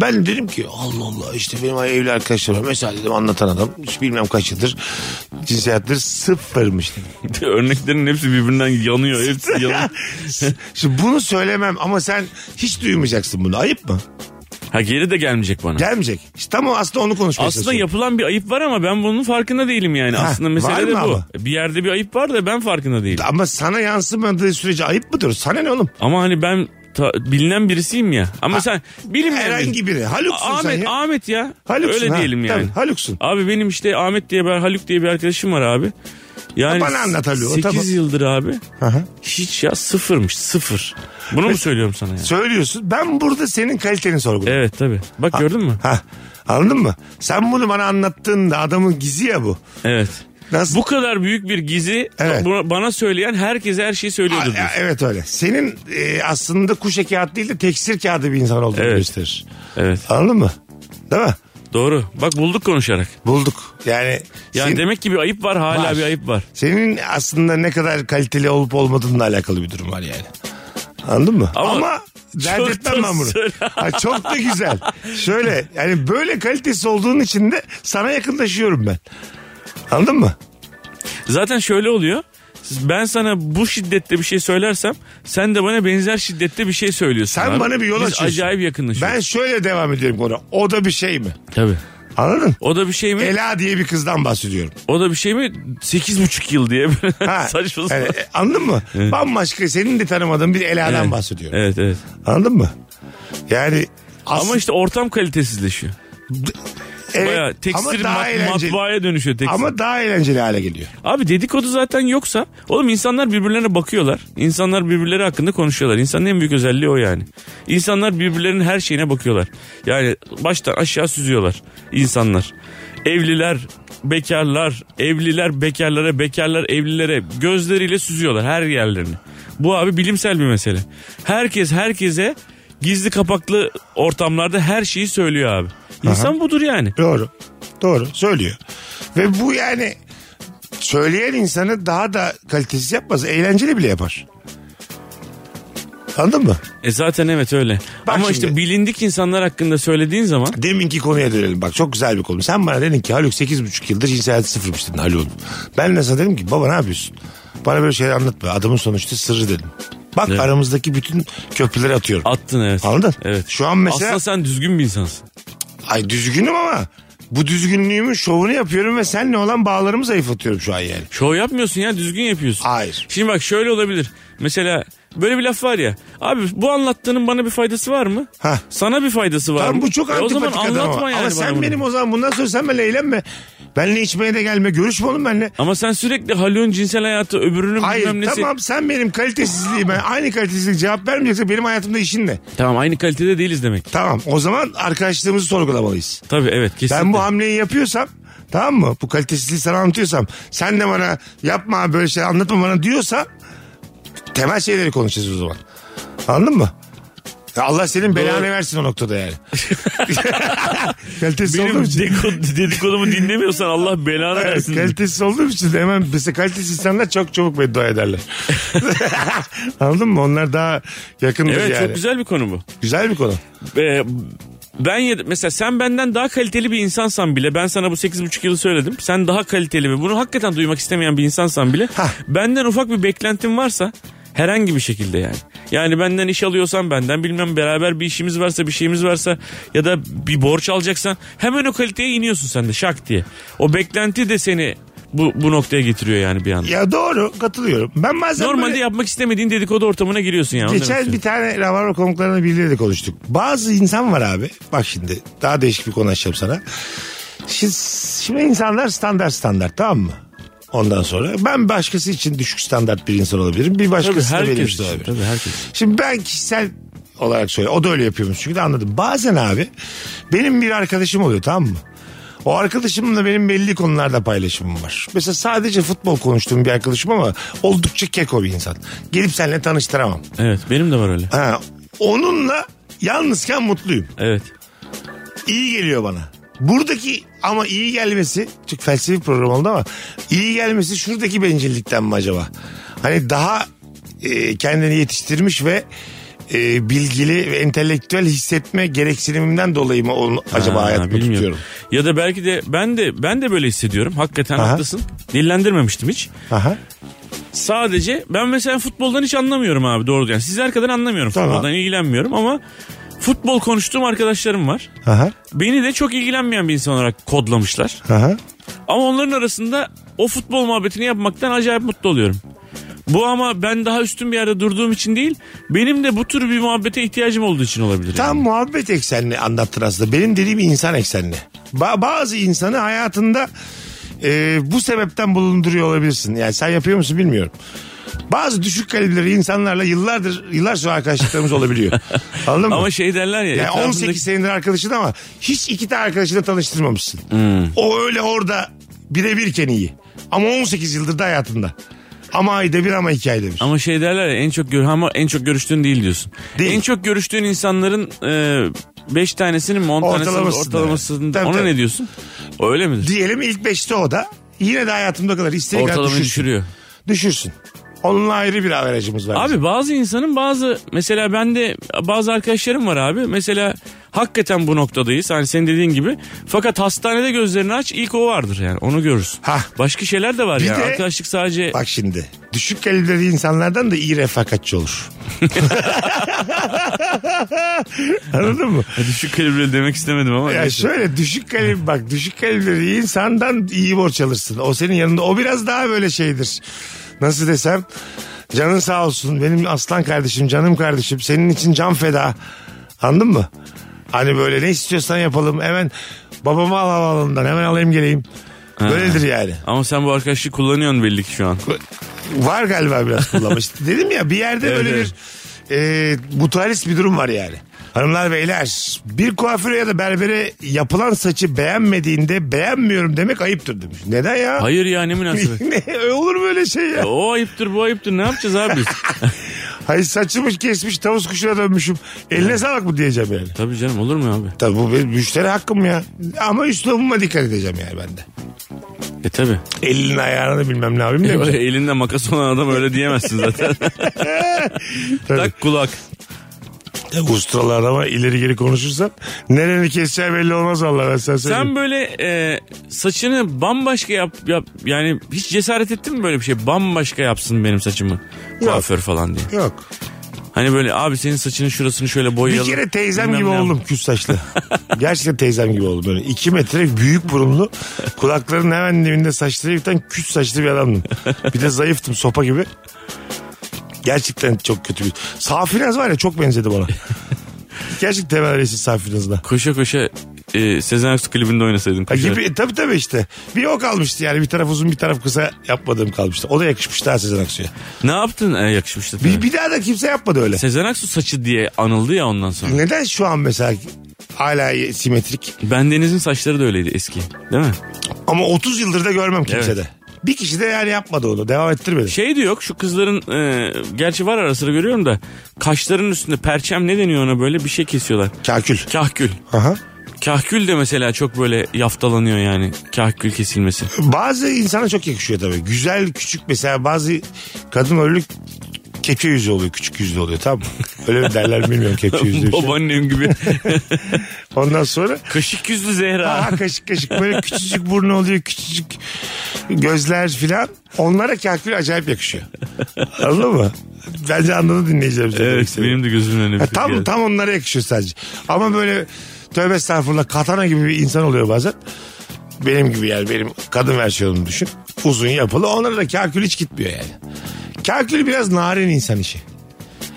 S3: Ben dedim ki Allah Allah işte benim evli arkadaşlarım var. mesela dedim anlatan adam hiç bilmem kaç yıldır cinsel hayatları sıfırmış dedim.
S4: Örneklerin hepsi birbirinden yanıyor. Hepsi yanıyor.
S3: Şimdi bunu söylemem ama sen hiç duymayacaksın bunu ayıp mı?
S4: Ha geri de gelmeyecek bana.
S3: Gelmeyecek. İşte tam o aslında onu konuşmaya
S4: Aslında
S3: çalışıyorum.
S4: yapılan bir ayıp var ama ben bunun farkında değilim yani.
S3: şey- Ha,
S4: Aslında
S3: var
S4: mesele
S3: mı
S4: de bu.
S3: ama?
S4: Bir yerde bir ayıp var da ben farkında değilim.
S3: Ama sana yansımadığı sürece ayıp mıdır? Sana ne oğlum?
S4: Ama hani ben ta- bilinen birisiyim ya. Ama sen bilinmeyen biri-
S3: Herhangi biri. Haluksun
S4: Ahmet,
S3: sen ya.
S4: Ahmet ya.
S3: Haluksun
S4: Öyle
S3: ha.
S4: diyelim yani.
S3: Tabii, Haluksun.
S4: Abi benim işte Ahmet diye bir Haluk diye bir arkadaşım var abi. Yani
S3: Bana anlat Haluk'u,
S4: 8
S3: tamam.
S4: yıldır abi.
S3: Aha.
S4: Hiç ya sıfırmış sıfır. Bunu mu söylüyorum sana yani?
S3: Söylüyorsun. Ben burada senin kaliteni sorguluyorum.
S4: Evet tabi. Bak gördün mü?
S3: Ha. Anladın mı? Sen bunu bana anlattığında adamın gizi ya bu.
S4: Evet.
S3: Nasıl?
S4: Bu kadar büyük bir gizi
S3: Evet.
S4: bu- bana söyleyen herkese her şeyi
S3: Aa,
S4: söylüyordur. diyorsun.
S3: evet öyle. Senin e, aslında kuş eki kağıt değil de teksir kağıdı bir insan olduğunu
S4: Evet.
S3: gösterir.
S4: Evet.
S3: Anladın mı? Değil mi?
S4: Doğru. Bak bulduk konuşarak.
S3: Bulduk. Yani,
S4: Yani
S3: sen-
S4: demek ki bir ayıp var hala
S3: Var.
S4: bir ayıp var.
S3: senin aslında ne kadar kaliteli olup olmadığınla alakalı bir durum var yani. Anladın mı? Ama,
S4: Ama
S3: dert
S4: çok
S3: etmem
S4: da
S3: ben bunu.
S4: söyle.
S3: Ha, çok da güzel. Şöyle yani böyle kalitesi olduğun için de sana yakınlaşıyorum ben. Anladın mı?
S4: Zaten şöyle oluyor. Ben sana bu şiddette bir şey söylersem sen de bana benzer şiddette bir şey söylüyorsun.
S3: Sen
S4: abi.
S3: bana bir yol
S4: Biz
S3: açıyorsun.
S4: acayip yakınlaşıyoruz.
S3: Ben şöyle devam ediyorum konu. O da bir şey mi?
S4: Tabii.
S3: Anladın?
S4: O da bir şey mi?
S3: Ela diye bir kızdan bahsediyorum.
S4: O da bir şey mi? Sekiz buçuk yıl diye.
S3: Ha,
S4: Saçma
S3: yani,
S4: sapan.
S3: e, anladın mı? Bambaşka senin de tanımadığın bir Ela'dan
S4: Evet.
S3: bahsediyorum.
S4: Evet evet.
S3: Anladın mı? Yani
S4: Ama işte ortam kalitesizleşiyor. Baya tekstil mat- matbaaya dönüşüyor tekstil.
S3: Ama daha eğlenceli hale geliyor.
S4: Abi dedikodu zaten yoksa oğlum insanlar birbirlerine bakıyorlar. İnsanlar birbirleri hakkında konuşuyorlar. İnsanın en büyük özelliği o yani. İnsanlar birbirlerinin her şeyine bakıyorlar. Yani baştan aşağı süzüyorlar insanlar. Evliler, bekarlar, evliler bekarlara, bekarlar evlilere gözleriyle süzüyorlar her yerlerini. Bu abi bilimsel bir mesele. Herkes herkese gizli kapaklı ortamlarda her şeyi söylüyor abi. İnsan budur yani.
S3: Doğru. Doğru. Söylüyor. Ve bu yani söyleyen insanı daha da kalitesiz yapmaz. Eğlenceli bile yapar. Anladın mı?
S4: E zaten evet öyle.
S3: Bak
S4: Ama
S3: şimdi.
S4: işte bilindik insanlar hakkında söylediğin zaman
S3: Deminki konuya dönelim bak çok güzel bir konu. Sen bana dedin ki Haluk 8,5 yıldır cinsel hayatı sıfırmış dedin Haluk'un. Ben de sana dedim ki baba ne yapıyorsun? Bana böyle şeyler anlatma. Adamın sonuçta sırrı dedim. Bak
S4: Evet.
S3: aramızdaki bütün köprüleri atıyorum.
S4: Attın evet.
S3: Anladın?
S4: Evet.
S3: Şu an mesela
S4: Aslında sen düzgün bir insansın.
S3: ay düzgünüm ama bu düzgünlüğümün şovunu yapıyorum ve seninle olan bağlarımı zayıflatıyorum şu an yani.
S4: Şov yapmıyorsun ya düzgün yapıyorsun.
S3: Hayır.
S4: Şimdi bak şöyle olabilir. Mesela böyle bir laf var ya. Abi bu anlattığının bana bir faydası var mı?
S3: Hah.
S4: Sana bir faydası var
S3: Tamam
S4: mı?
S3: bu çok
S4: E
S3: antipatik
S4: O zaman
S3: adam
S4: anlatma
S3: ama.
S4: yani
S3: ama
S4: bana
S3: sen
S4: bunu.
S3: benim o zaman bundan sonra sen benimle eğlenme. Benle içmeye de gelme. Görüşme oğlum benimle.
S4: Ama sen sürekli Haluk'un cinsel hayatı öbürünün bilmem
S3: Hayır
S4: nesi.
S3: tamam sen benim kalitesizliğime aynı kalitesizlik cevap vermeyecekse benim hayatımda işin ne?
S4: Tamam, aynı kalitede değiliz demek.
S3: Tamam o zaman arkadaşlığımızı sorgulamalıyız.
S4: Tabii evet kesinlikle.
S3: Ben bu hamleyi yapıyorsam tamam mı? Bu kalitesizliği sana anlatıyorsam sen de bana yapma abi böyle şey anlatma bana diyorsa temel şeyleri konuşacağız o zaman. Anladın mı? Allah senin belanı versin o noktada yani. kalitesiz olduğum
S4: Benim
S3: için.
S4: deko- dedikodumu dinlemiyorsan Allah belanı
S3: Evet,
S4: versin.
S3: kalitesiz olduğum için de hemen mesela kalitesiz insanlar çok çabuk beddua ederler. Anladın mı? Onlar daha yakındır
S4: Evet
S3: yani.
S4: çok güzel bir konu bu.
S3: Güzel bir konu.
S4: Ee, ben ya- mesela sen benden daha kaliteli bir insansan bile ben sana bu 8,5 yılı söyledim. Sen daha kaliteli ve bunu hakikaten duymak istemeyen bir insansan bile
S3: Hah.
S4: benden ufak bir beklentin varsa herhangi bir şekilde yani. Yani benden iş alıyorsan benden bilmem beraber bir işimiz varsa bir şeyimiz varsa ya da bir borç alacaksan hemen o kaliteye iniyorsun sen de şak diye. O beklenti de seni bu, bu noktaya getiriyor yani bir anda.
S3: Ya doğru katılıyorum. Ben bazen
S4: Normalde
S3: böyle-
S4: yapmak istemediğin dedikodu ortamına giriyorsun yani. onu demek
S3: Geçen bir
S4: istiyorum.
S3: tane Rabarba konuklarını biriyle de konuştuk. Bazı insan var abi. Bak şimdi daha değişik bir konu açacağım sana. Şimdi, şimdi insanlar standart standart tamam mı? Ondan sonra ben başkası için düşük standart bir insan olabilirim. Bir
S4: Tabii
S3: başkası da benim
S4: herkes
S3: için
S4: için.
S3: olabilir.
S4: Tabii herkes.
S3: Şimdi ben kişisel olarak söylüyorum. O da öyle yapıyormuş çünkü de anladım. Bazen abi benim bir arkadaşım oluyor tamam mı? O arkadaşımla benim belli konularda paylaşımım var. Mesela sadece futbol konuştuğum bir arkadaşım ama oldukça keko bir insan. Gelip seninle tanıştıramam.
S4: Evet benim de var öyle.
S3: Ha, onunla yalnızken mutluyum.
S4: Evet.
S3: İyi geliyor bana. Buradaki ama iyi gelmesi çok felsefi program oldu ama iyi gelmesi şuradaki bencillikten mi acaba? Hani daha e, kendini yetiştirmiş ve e, bilgili ve entelektüel hissetme gereksinimimden dolayı mı onu acaba
S4: Ha,
S3: hayatta
S4: bilmiyorum.
S3: tutuyorum?
S4: Ya da belki de ben de ben de böyle hissediyorum. Hakikaten
S3: Aha.
S4: haklısın. Dillendirmemiştim hiç.
S3: Aha.
S4: Sadece ben mesela futboldan hiç anlamıyorum abi doğru yani. Sizler kadar anlamıyorum.
S3: Tamam.
S4: Futboldan ilgilenmiyorum ama futbol konuştuğum arkadaşlarım var.
S3: Aha.
S4: Beni de çok ilgilenmeyen bir insan olarak kodlamışlar.
S3: Aha.
S4: Ama onların arasında o futbol muhabbetini yapmaktan acayip mutlu oluyorum. Bu ama ben daha üstün bir yerde durduğum için değil, benim de bu tür bir muhabbete ihtiyacım olduğu için olabilir.
S3: Tam
S4: yani.
S3: muhabbet eksenli anlattın aslında. Benim dediğim insan eksenli. Ba- bazı insanı hayatında e, bu sebepten bulunduruyor olabilirsin. Yani sen yapıyor musun bilmiyorum. Bazı düşük kalibreli insanlarla yıllardır yıllar sonra arkadaşlıklarımız olabiliyor. Anladın mı?
S4: Ama şey derler ya.
S3: yani
S4: etrafındaki-
S3: 18 senedir arkadaşın ama hiç iki tane arkadaşıyla tanıştırmamışsın.
S4: Hmm.
S3: O öyle orada birebirken iyi. Ama 18 yıldır da hayatında. Ama ayda bir ama iki ayda bir.
S4: Ama şey derler ya en çok gör ama en çok görüştüğün değil diyorsun.
S3: Değil.
S4: En çok görüştüğün insanların 5 tanesinin mi 10 tanesinin
S3: Ortalamasında.
S4: ortalamasının
S3: Tabii,
S4: ona
S3: tabii.
S4: ne diyorsun? O öyle midir?
S3: Diyelim ilk 5'te o da. Yine de hayatımda kadar istediği kadar
S4: Ortalamayı
S3: düşürsün.
S4: düşürüyor.
S3: düşürsün. Onunla ayrı bir averajımız var. bizim.
S4: Abi bazı insanın bazı mesela ben de bazı arkadaşlarım var abi. Mesela hakikaten bu noktadayız. Hani senin dediğin gibi. Fakat hastanede gözlerini aç ilk o vardır yani. Onu görürsün.
S3: Hah.
S4: Başka şeyler de var
S3: Bir
S4: ya.
S3: de-
S4: Arkadaşlık sadece
S3: Bak şimdi düşük kalibreli insanlardan da iyi refakatçi olur. Anladın mı?
S4: düşük kalibreli demek istemedim ama.
S3: Ya
S4: neyse.
S3: şöyle düşük kalibre bak düşük kalibreli insandan iyi borç alırsın. O senin yanında o biraz daha böyle şeydir. Nasıl desem canın sağ olsun benim aslan kardeşim canım kardeşim senin için can feda. Anladın mı? Hani böyle ne istiyorsan yapalım hemen babamı al havaalanından hemen alayım geleyim. Böyledir yani.
S4: Ama sen bu arkadaşlığı kullanıyorsun belli ki şu an.
S3: Var galiba biraz kullanma. İşte Dedim ya bir yerde
S4: Evet,
S3: böyle
S4: evet.
S3: bir e, mutualist bir durum var yani. Hanımlar beyler bir kuaföre ya da berbere yapılan saçı beğenmediğinde beğenmiyorum demek ayıptır demiş. Neden ya?
S4: Hayır ya ne münasebet.
S3: ne olur böyle şey ya.
S4: O ayıptır bu ayıptır ne yapacağız abi biz?
S3: Hayır saçımı kesmiş tavus kuşuna dönmüşüm. Eline sağlık mı diyeceğim yani.
S4: Tabii canım olur mu abi?
S3: Tabii bu benim müşteri hakkım ya. Ama üslubuma dikkat edeceğim yani ben de.
S4: E tabii.
S3: Elini ayağını bilmem ne yapayım
S4: Öyle
S3: demeyeceğim.
S4: elinde makas olan adam öyle diyemezsin zaten.
S3: Tabii.
S4: tak kulak.
S3: Ustralı adama ileri geri konuşursan nereni keseceği belli olmaz Allah ben sana söyleyeyim.
S4: Sen böyle e, saçını bambaşka yap, yap yani hiç cesaret ettin mi böyle bir şey bambaşka yapsın benim saçımı kuaför falan diye.
S3: Yok.
S4: Hani böyle abi senin saçının şurasını şöyle
S3: Bir
S4: boyayalım.
S3: kere teyzem
S4: bilmem
S3: gibi
S4: ne yap-
S3: oldum küs saçlı. Gerçekten teyzem gibi oldum. Böyle iki metre büyük burunlu kulakların hemen dibinde saçları biten küs saçlı bir adamdım. Bir de zayıftım sopa gibi. Gerçekten çok kötü bir... Safinaz var ya çok benzedi bana. Gerçekten temel reisi Safinaz'la.
S4: Koşa koşa e, Sezen Aksu klibinde oynasaydın.
S3: Ha
S4: koşarak.
S3: E, gibi, tabii tabii işte. Bir o kalmıştı yani bir taraf uzun bir taraf kısa yapmadığım kalmıştı. O da yakışmıştı daha Sezen Aksu'ya.
S4: Ne yaptın? E, yakışmıştı. tabii.
S3: Bir, bir daha da kimse yapmadı öyle.
S4: Sezen Aksu saçı diye anıldı ya ondan sonra.
S3: Neden şu an mesela hala simetrik
S4: Bendeniz'in saçları da öyleydi eski. Değil mi?
S3: ama 30 yıldır da görmem kimsede. Bir kişi de yani yapmadı onu. Devam ettirmedi.
S4: Şey de yok şu kızların e, gerçi var ara sıra görüyorum da kaşların üstünde perçem ne deniyor ona böyle bir şey kesiyorlar.
S3: Kakül.
S4: Kahkül.
S3: Aha.
S4: Kahkül de mesela çok böyle yaftalanıyor yani kahkül kesilmesi.
S3: Bazı insana çok yakışıyor tabii. Güzel küçük mesela bazı kadın öyle kepçe yüzü oluyor. Küçük yüzlü oluyor tamam mı? Öyle mi derler bilmiyorum kepçe yüzlü bir şey.
S4: Babaannem gibi.
S3: Ondan sonra
S4: Kaşık yüzlü Zehra.
S3: Aha kaşık kaşık böyle küçücük burnu oluyor küçücük gözler filan. Onlara kakül acayip yakışıyor. Anladın mı? Bence anladı dinleyicilerimiz. ne demek
S4: evet
S3: istediğimi.
S4: benim de gözümün önüne bir
S3: Ha,
S4: şey
S3: E, tam,
S4: geldi.
S3: tam onlara yakışıyor sadece. Ama böyle tövbe estağfurullah katana gibi bir insan oluyor bazen. Benim gibi yani benim kadın versiyonumu düşün. Uzun yapılı onlara da kakül hiç gitmiyor yani. Kakül biraz narin insan işi.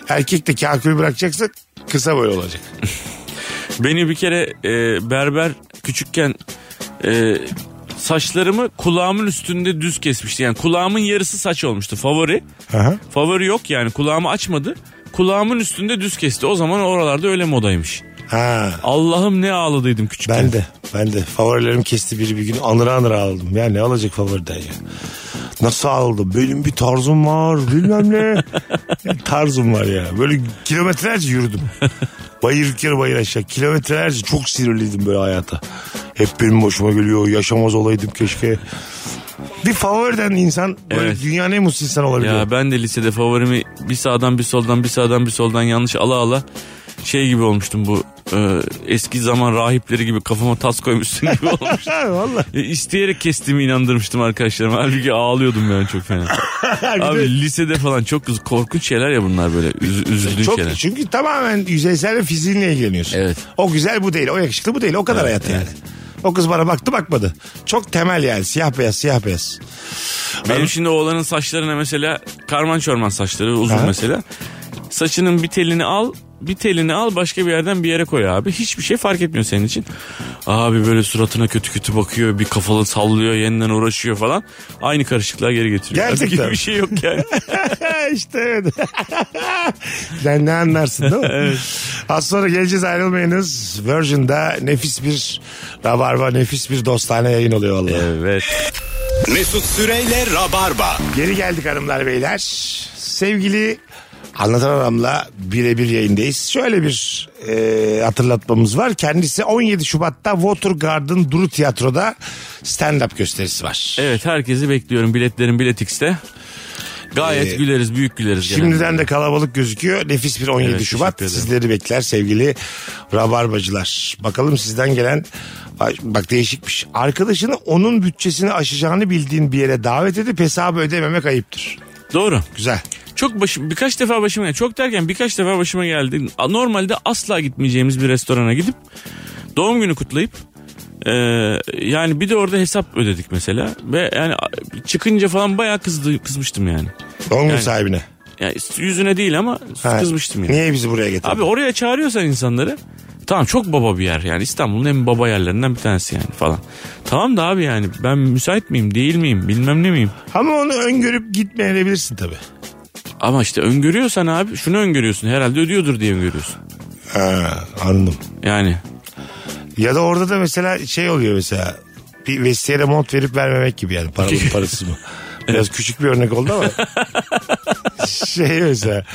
S3: Erkek de kakül bırakacaksa kısa boy olacak.
S4: Beni bir kere e, berber küçükken e, saçlarımı kulağımın üstünde düz kesmişti. Yani kulağımın yarısı saç olmuştu favori.
S3: Aha.
S4: Favori yok yani kulağımı açmadı. Kulağımın üstünde düz kesti. O zaman oralarda öyle modaymış.
S3: Ha.
S4: Allah'ım ne ağladıydım küçükken.
S3: Ben de. Ben de. Favorilerim kesti biri bir gün. Anıra anıra aldım. Ya ne alacak favoriden ya. Nasıl aldım? Benim bir tarzım var. Bilmem ne. tarzım var ya. Böyle kilometrelerce yürüdüm. Bayır yukarı bayır aşağı. Kilometrelerce çok sinirliydim böyle hayata. Hep benim başıma geliyor. Yaşamaz olaydım keşke. Bir favoriden insan böyle
S4: Evet.
S3: dünyanın en mutsuz insanı olabiliyor.
S4: Ya ben de lisede favorimi bir sağdan bir soldan bir sağdan bir soldan yanlış ala ala şey gibi olmuştum bu e, eski zaman rahipleri gibi kafama tas koymuşsun gibi olmuştum.
S3: Ha, vallahi.
S4: E, İsteyerek kestiğimi inandırmıştım arkadaşlarıma. Halbuki ağlıyordum yani çok fena.
S3: Bir de-
S4: Abi lisede falan çok kız- korkunç şeyler ya bunlar böyle. Üz, üzüldüğün
S3: Çok
S4: şeyler.
S3: çünkü tamamen yüzeysel ve fiziğinle ilgileniyorsun.
S4: Evet.
S3: O güzel bu değil, o yakışıklı bu değil. O kadar hayat yani. O kız bana baktı bakmadı. Çok temel yani siyah beyaz siyah beyaz.
S4: Benim şimdi oğlanın saçlarına mesela karman çorman saçları uzun
S3: Ha.
S4: mesela. Saçının bir telini al bir telini al başka bir yerden bir yere koy abi. Hiçbir şey fark etmiyor senin için. Abi böyle suratına kötü kötü bakıyor bir kafalı sallıyor yeniden uğraşıyor falan. Aynı karışıklığa geri getiriyor. Halbuki
S3: Gerçekten.
S4: Bir şey yok yani.
S3: işte evet. Sen ne anlarsın değil mi? Az sonra geleceğiz ayrılmayınız. Virgin'da nefis bir rabarba nefis bir dostane yayın oluyor vallahi.
S4: evet.
S2: Mesut Süreyle Rabarba.
S3: Geri geldik hanımlar beyler. Sevgili Anlatan Adam'la birebir yayındayız. Şöyle bir e, hatırlatmamız var. Kendisi 17 Şubat'ta Watergarden Duru Tiyatro'da stand-up gösterisi var.
S4: Evet herkesi bekliyorum biletlerin biletix'te. Gayet
S3: Ee,
S4: güleriz büyük güleriz. genelde.
S3: Şimdiden de kalabalık gözüküyor. Nefis bir 17
S4: Evet,
S3: Şubat
S4: teşekkür ederim.
S3: sizleri bekler sevgili rabarbacılar. Bakalım sizden gelen Ay, bak değişikmiş. Arkadaşını onun bütçesini aşacağını bildiğin bir yere davet edip hesabı ödememek ayıptır.
S4: Doğru.
S3: Güzel.
S4: Çok başı, birkaç defa başıma geldi. Çok derken birkaç defa başıma geldi. A- Normalde asla gitmeyeceğimiz bir restorana gidip doğum günü kutlayıp e, yani bir de orada hesap ödedik mesela ve yani a- çıkınca falan bayağı kızdı, kızmıştım yani.
S3: Doğum gün
S4: Yani-
S3: sahibine.
S4: Yani yüzüne değil ama
S3: Ha,
S4: kızmıştım yani.
S3: Niye bizi buraya getirdin?
S4: Abi oraya çağırıyorsan insanları tamam çok baba bir yer yani İstanbul'un en baba yerlerinden bir tanesi yani falan. Tamam da abi yani ben müsait miyim değil miyim bilmem ne miyim.
S3: Ama onu öngörüp gitmeyebilirsin tabii.
S4: Ama işte öngörüyorsan abi şunu öngörüyorsun herhalde ödüyordur diye öngörüyorsun.
S3: Ha, anladım.
S4: Yani
S3: Ya da orada da mesela şey oluyor mesela bir vestiyere mont verip vermemek gibi yani paralı mı, parasız mı? Biraz küçük bir örnek oldu ama şey mesela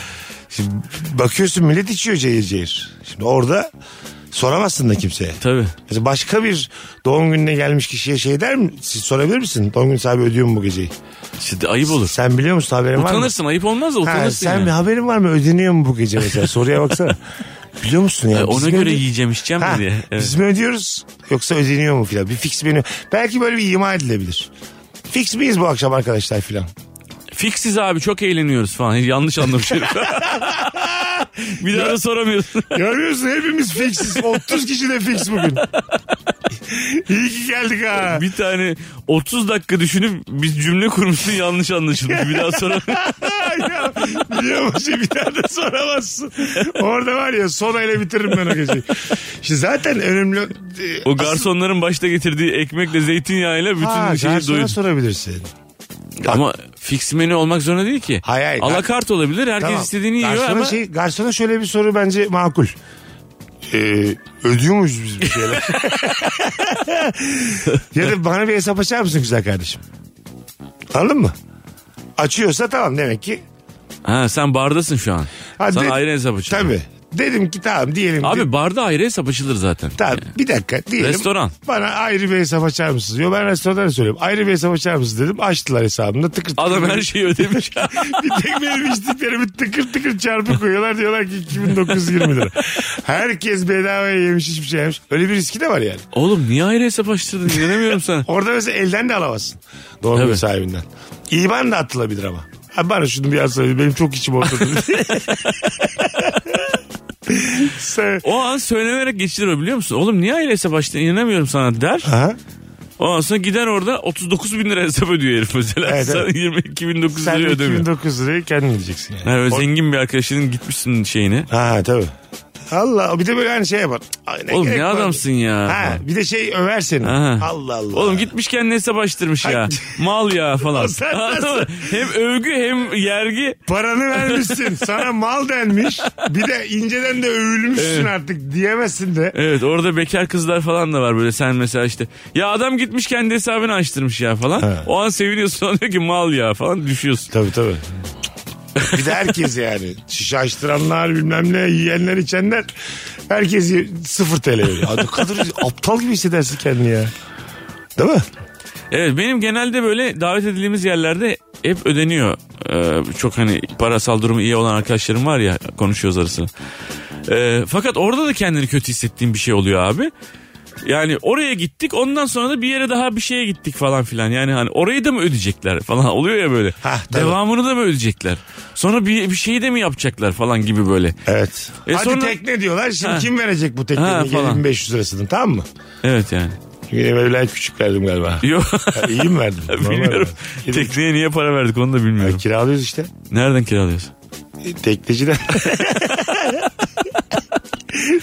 S3: şimdi bakıyorsun millet içiyor cehir cehir. Şimdi orada soramazsın da kimseye.
S4: tabii.
S3: Mesela başka bir doğum gününe gelmiş kişiye şey der mi? Siz sorabilir misin? Doğum günü sahibi ödüyor mu bu geceyi?
S4: İşte ayıp olur.
S3: Sen biliyor musun haberin var mı?
S4: Utanırsın ayıp olmaz da
S3: Ha,
S4: utanırsın.
S3: sen
S4: yani.
S3: bir haberin var mı? Ödeniyor mu bu gece mesela? Soruya baksana. Biliyor musun ya?
S4: E,
S3: biz
S4: ona
S3: mi
S4: göre
S3: öde-
S4: yiyeceğim içeceğim
S3: Ha,
S4: mi diye. Evet.
S3: Biz mi ödüyoruz yoksa ödeniyor mu filan? Bir fix menü. Belki böyle bir ima edilebilir. Fix miyiz bu akşam arkadaşlar filan?
S4: Fiksiz abi çok eğleniyoruz falan. Yanlış anlamış herif. bir daha da soramıyorsun.
S3: Görmüyorsun hepimiz fixiz. 30 kişi de fix bugün. İyi ki geldik ha.
S4: bir tane 30 dakika düşünüp biz cümle kurmuşsun yanlış anlaşılmış. Bir daha soramıyorsun.
S3: ya, biliyor musun bir daha da soramazsın. Orada var ya sonayla bitiririm ben o geceyi. Şimdi zaten önemli... e,
S4: O garsonların başta getirdiği ekmekle zeytinyağıyla bütün
S3: Ha,
S4: şeyi
S3: garsona
S4: doyurun.
S3: sorabilirsin.
S4: Ama fix menü olmak zorunda değil ki.
S3: Hayır, hayır.
S4: Alakart olabilir. Herkes
S3: Tamam.
S4: istediğini yiyor
S3: Garsona
S4: ama
S3: Şey, garsona şöyle bir soru bence makul. Ee, ödüyor muyuz biz bir şeyler? ya da bana bir hesap açar mısın güzel kardeşim? Anladın mı? Açıyorsa tamam demek ki.
S4: Ha sen bardasın şu an.
S3: Ha,
S4: Sana
S3: de-
S4: ayrı hesap açılır.
S3: Tabii. Dedim ki tamam diyelim. ki-
S4: Abi barda ayrı hesap açılır zaten.
S3: Tamam bir dakika diyelim.
S4: Restoran.
S3: Bana ayrı bir hesap açar mısınız? Yo ben restorana söylüyorum. Ayrı bir hesap açar mısınız dedim. Açtılar hesabımda tıkır tıkır.
S4: Adam her şeyi ödemiş.
S3: bir tek benim içtiklerimi tıkır tıkır çarpı koyuyorlar. Diyorlar ki 2920 lira. Herkes bedavaya yemiş hiçbir şey yemiş. Öyle bir riski de var yani.
S4: Oğlum niye ayrı hesap açtırdın inanamıyorum sana.
S3: Orada mesela elden de alamazsın. Doğru
S4: Tabii.
S3: sahibinden. İban da atılabilir ama. Abi bana şunu bir söyle. Benim çok içim ortada. Sen...
S4: O an söylenerek geçilir o biliyor musun? Oğlum niye ayrı hesap açtın inanamıyorum sana der.
S3: Aha.
S4: Ondan sonra gider orada 39 bin lira hesap ödüyor herif mesela.
S3: Evet,
S4: Sana
S3: evet.
S4: 22 bin 900
S3: Sen
S4: lira ödemiyor.
S3: 2009 lirayı kendin ödeyeceksin yani.
S4: Ha, böyle zengin bir arkadaşının gitmişsin şeyine.
S3: Ha tabii. Allah bir de böyle hani şey yapar. Ay,
S4: Oğlum
S3: gerek
S4: ne
S3: var?
S4: adamsın ya.
S3: Ha bir de şey över seni.
S4: Ha.
S3: Allah Allah.
S4: Oğlum gitmiş kendine hesap açtırmış ya.
S3: Ay.
S4: Mal ya falan.
S3: Sen nasıl-
S4: hem övgü hem yergi.
S3: Paranı vermişsin. Sana mal denmiş. Bir de inceden de övülmüşsün
S4: Evet.
S3: artık diyemezsin de.
S4: Evet orada bekar kızlar falan da var böyle sen mesela işte ya adam gitmiş kendi hesabını açtırmış ya falan.
S3: Evet.
S4: O an seviniyorsun sonra diyor ki mal ya falan düşüyorsun.
S3: Tabii tabii. Bir de herkes yani. Şişe açtıranlar bilmem ne yiyenler içenler. Herkes y- sıfır TL veriyor. Ya Ne kadar aptal gibi hissedersin kendini ya. Değil mi?
S4: Evet benim genelde böyle davet edildiğimiz yerlerde hep ödeniyor. Ee, çok hani parasal durumu iyi olan arkadaşlarım var ya konuşuyoruz arasında. Ee, fakat orada da kendini kötü hissettiğim bir şey oluyor abi. Yani oraya gittik ondan sonra da bir yere daha bir şeye gittik falan filan. Yani hani orayı da mı ödeyecekler falan oluyor ya böyle.
S3: Hah, tabii.
S4: Devamını da mı ödeyecekler? Sonra bir, bir şeyi de mi yapacaklar falan gibi böyle.
S3: Evet.
S4: E
S3: Hadi
S4: sonra-
S3: tekne diyorlar. Şimdi
S4: Ha.
S3: kim verecek bu
S4: Ha,
S3: teknenin
S4: falan.
S3: 7500 lirasını tamam mı?
S4: Evet yani.
S3: Çünkü benim evlen küçük verdim galiba.
S4: Yok
S3: Ha, İyi mi verdim? Normal
S4: bilmiyorum.
S3: verdim.
S4: Tekneye niye para verdik onu da
S3: Ha,
S4: bilmiyorum.
S3: kiralıyoruz işte.
S4: Nereden kiralıyorsun?
S3: E, Tekneciden.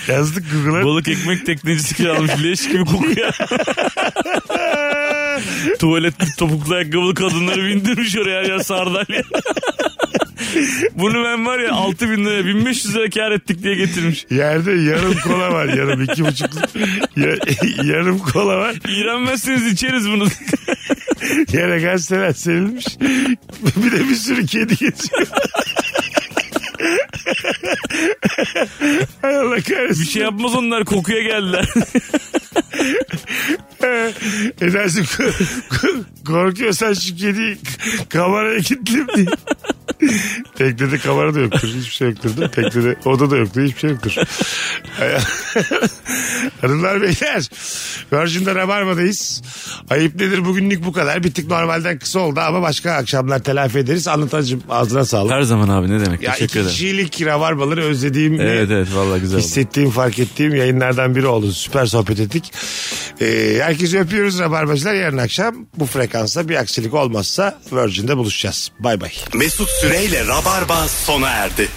S3: Yazdık Google'a.
S4: Balık ekmek teknecisi kiralamış leş gibi kokuyor. Tuvaletli topuklu ayakkabılı kadınları bindirmiş oraya ya sardalya. Bunu ben var ya 6 bin liraya 1500 lira kar ettik diye getirmiş.
S3: Yerde yarım kola var. Yarım iki buçuk. Ya- yarım kola var.
S4: İğrenmezseniz içeriz bunu.
S3: Yere gazeteler serilmiş. bir de bir sürü kedi geçiyor. Hay Allah kahretsin.
S4: Bir şey yapmaz onlar kokuya geldiler.
S3: Edersin ko- ko- korkuyorsan şu kediyi k- kameraya kilitlim diye. Teknede kamera da yoktur. Hiçbir şey yoktur. Değil mi? Teknede oda da yoktur. Hiçbir şey yoktur. Ay- Hanımlar beyler. Virgin'de Rabarba'dayız. Ayıp nedir bugünlük bu kadar. Bir tık normalden kısa oldu ama başka akşamlar telafi ederiz. Anlatacığım ağzına sağlık.
S4: Her zaman abi ne demek
S3: Ya
S4: teşekkür
S3: iki
S4: ederim.
S3: kişilik rabarbaları özlediğim
S4: Evet evet vallahi güzel oldu.
S3: Hissettiğim, fark ettiğim yayınlardan biri oldu. Süper sohbet ettik. Ee, herkesi öpüyoruz Rabarbacılar. Yarın akşam bu frekansta bir aksilik olmazsa Virgin'de buluşacağız. Bay bay.
S2: Mesut Süreyle Rabarba sona erdi.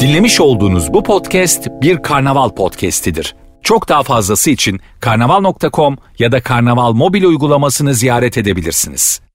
S1: Dinlemiş olduğunuz bu podcast bir karnaval podcastidir. Çok daha fazlası için karnaval.com ya da karnaval mobil uygulamasını ziyaret edebilirsiniz.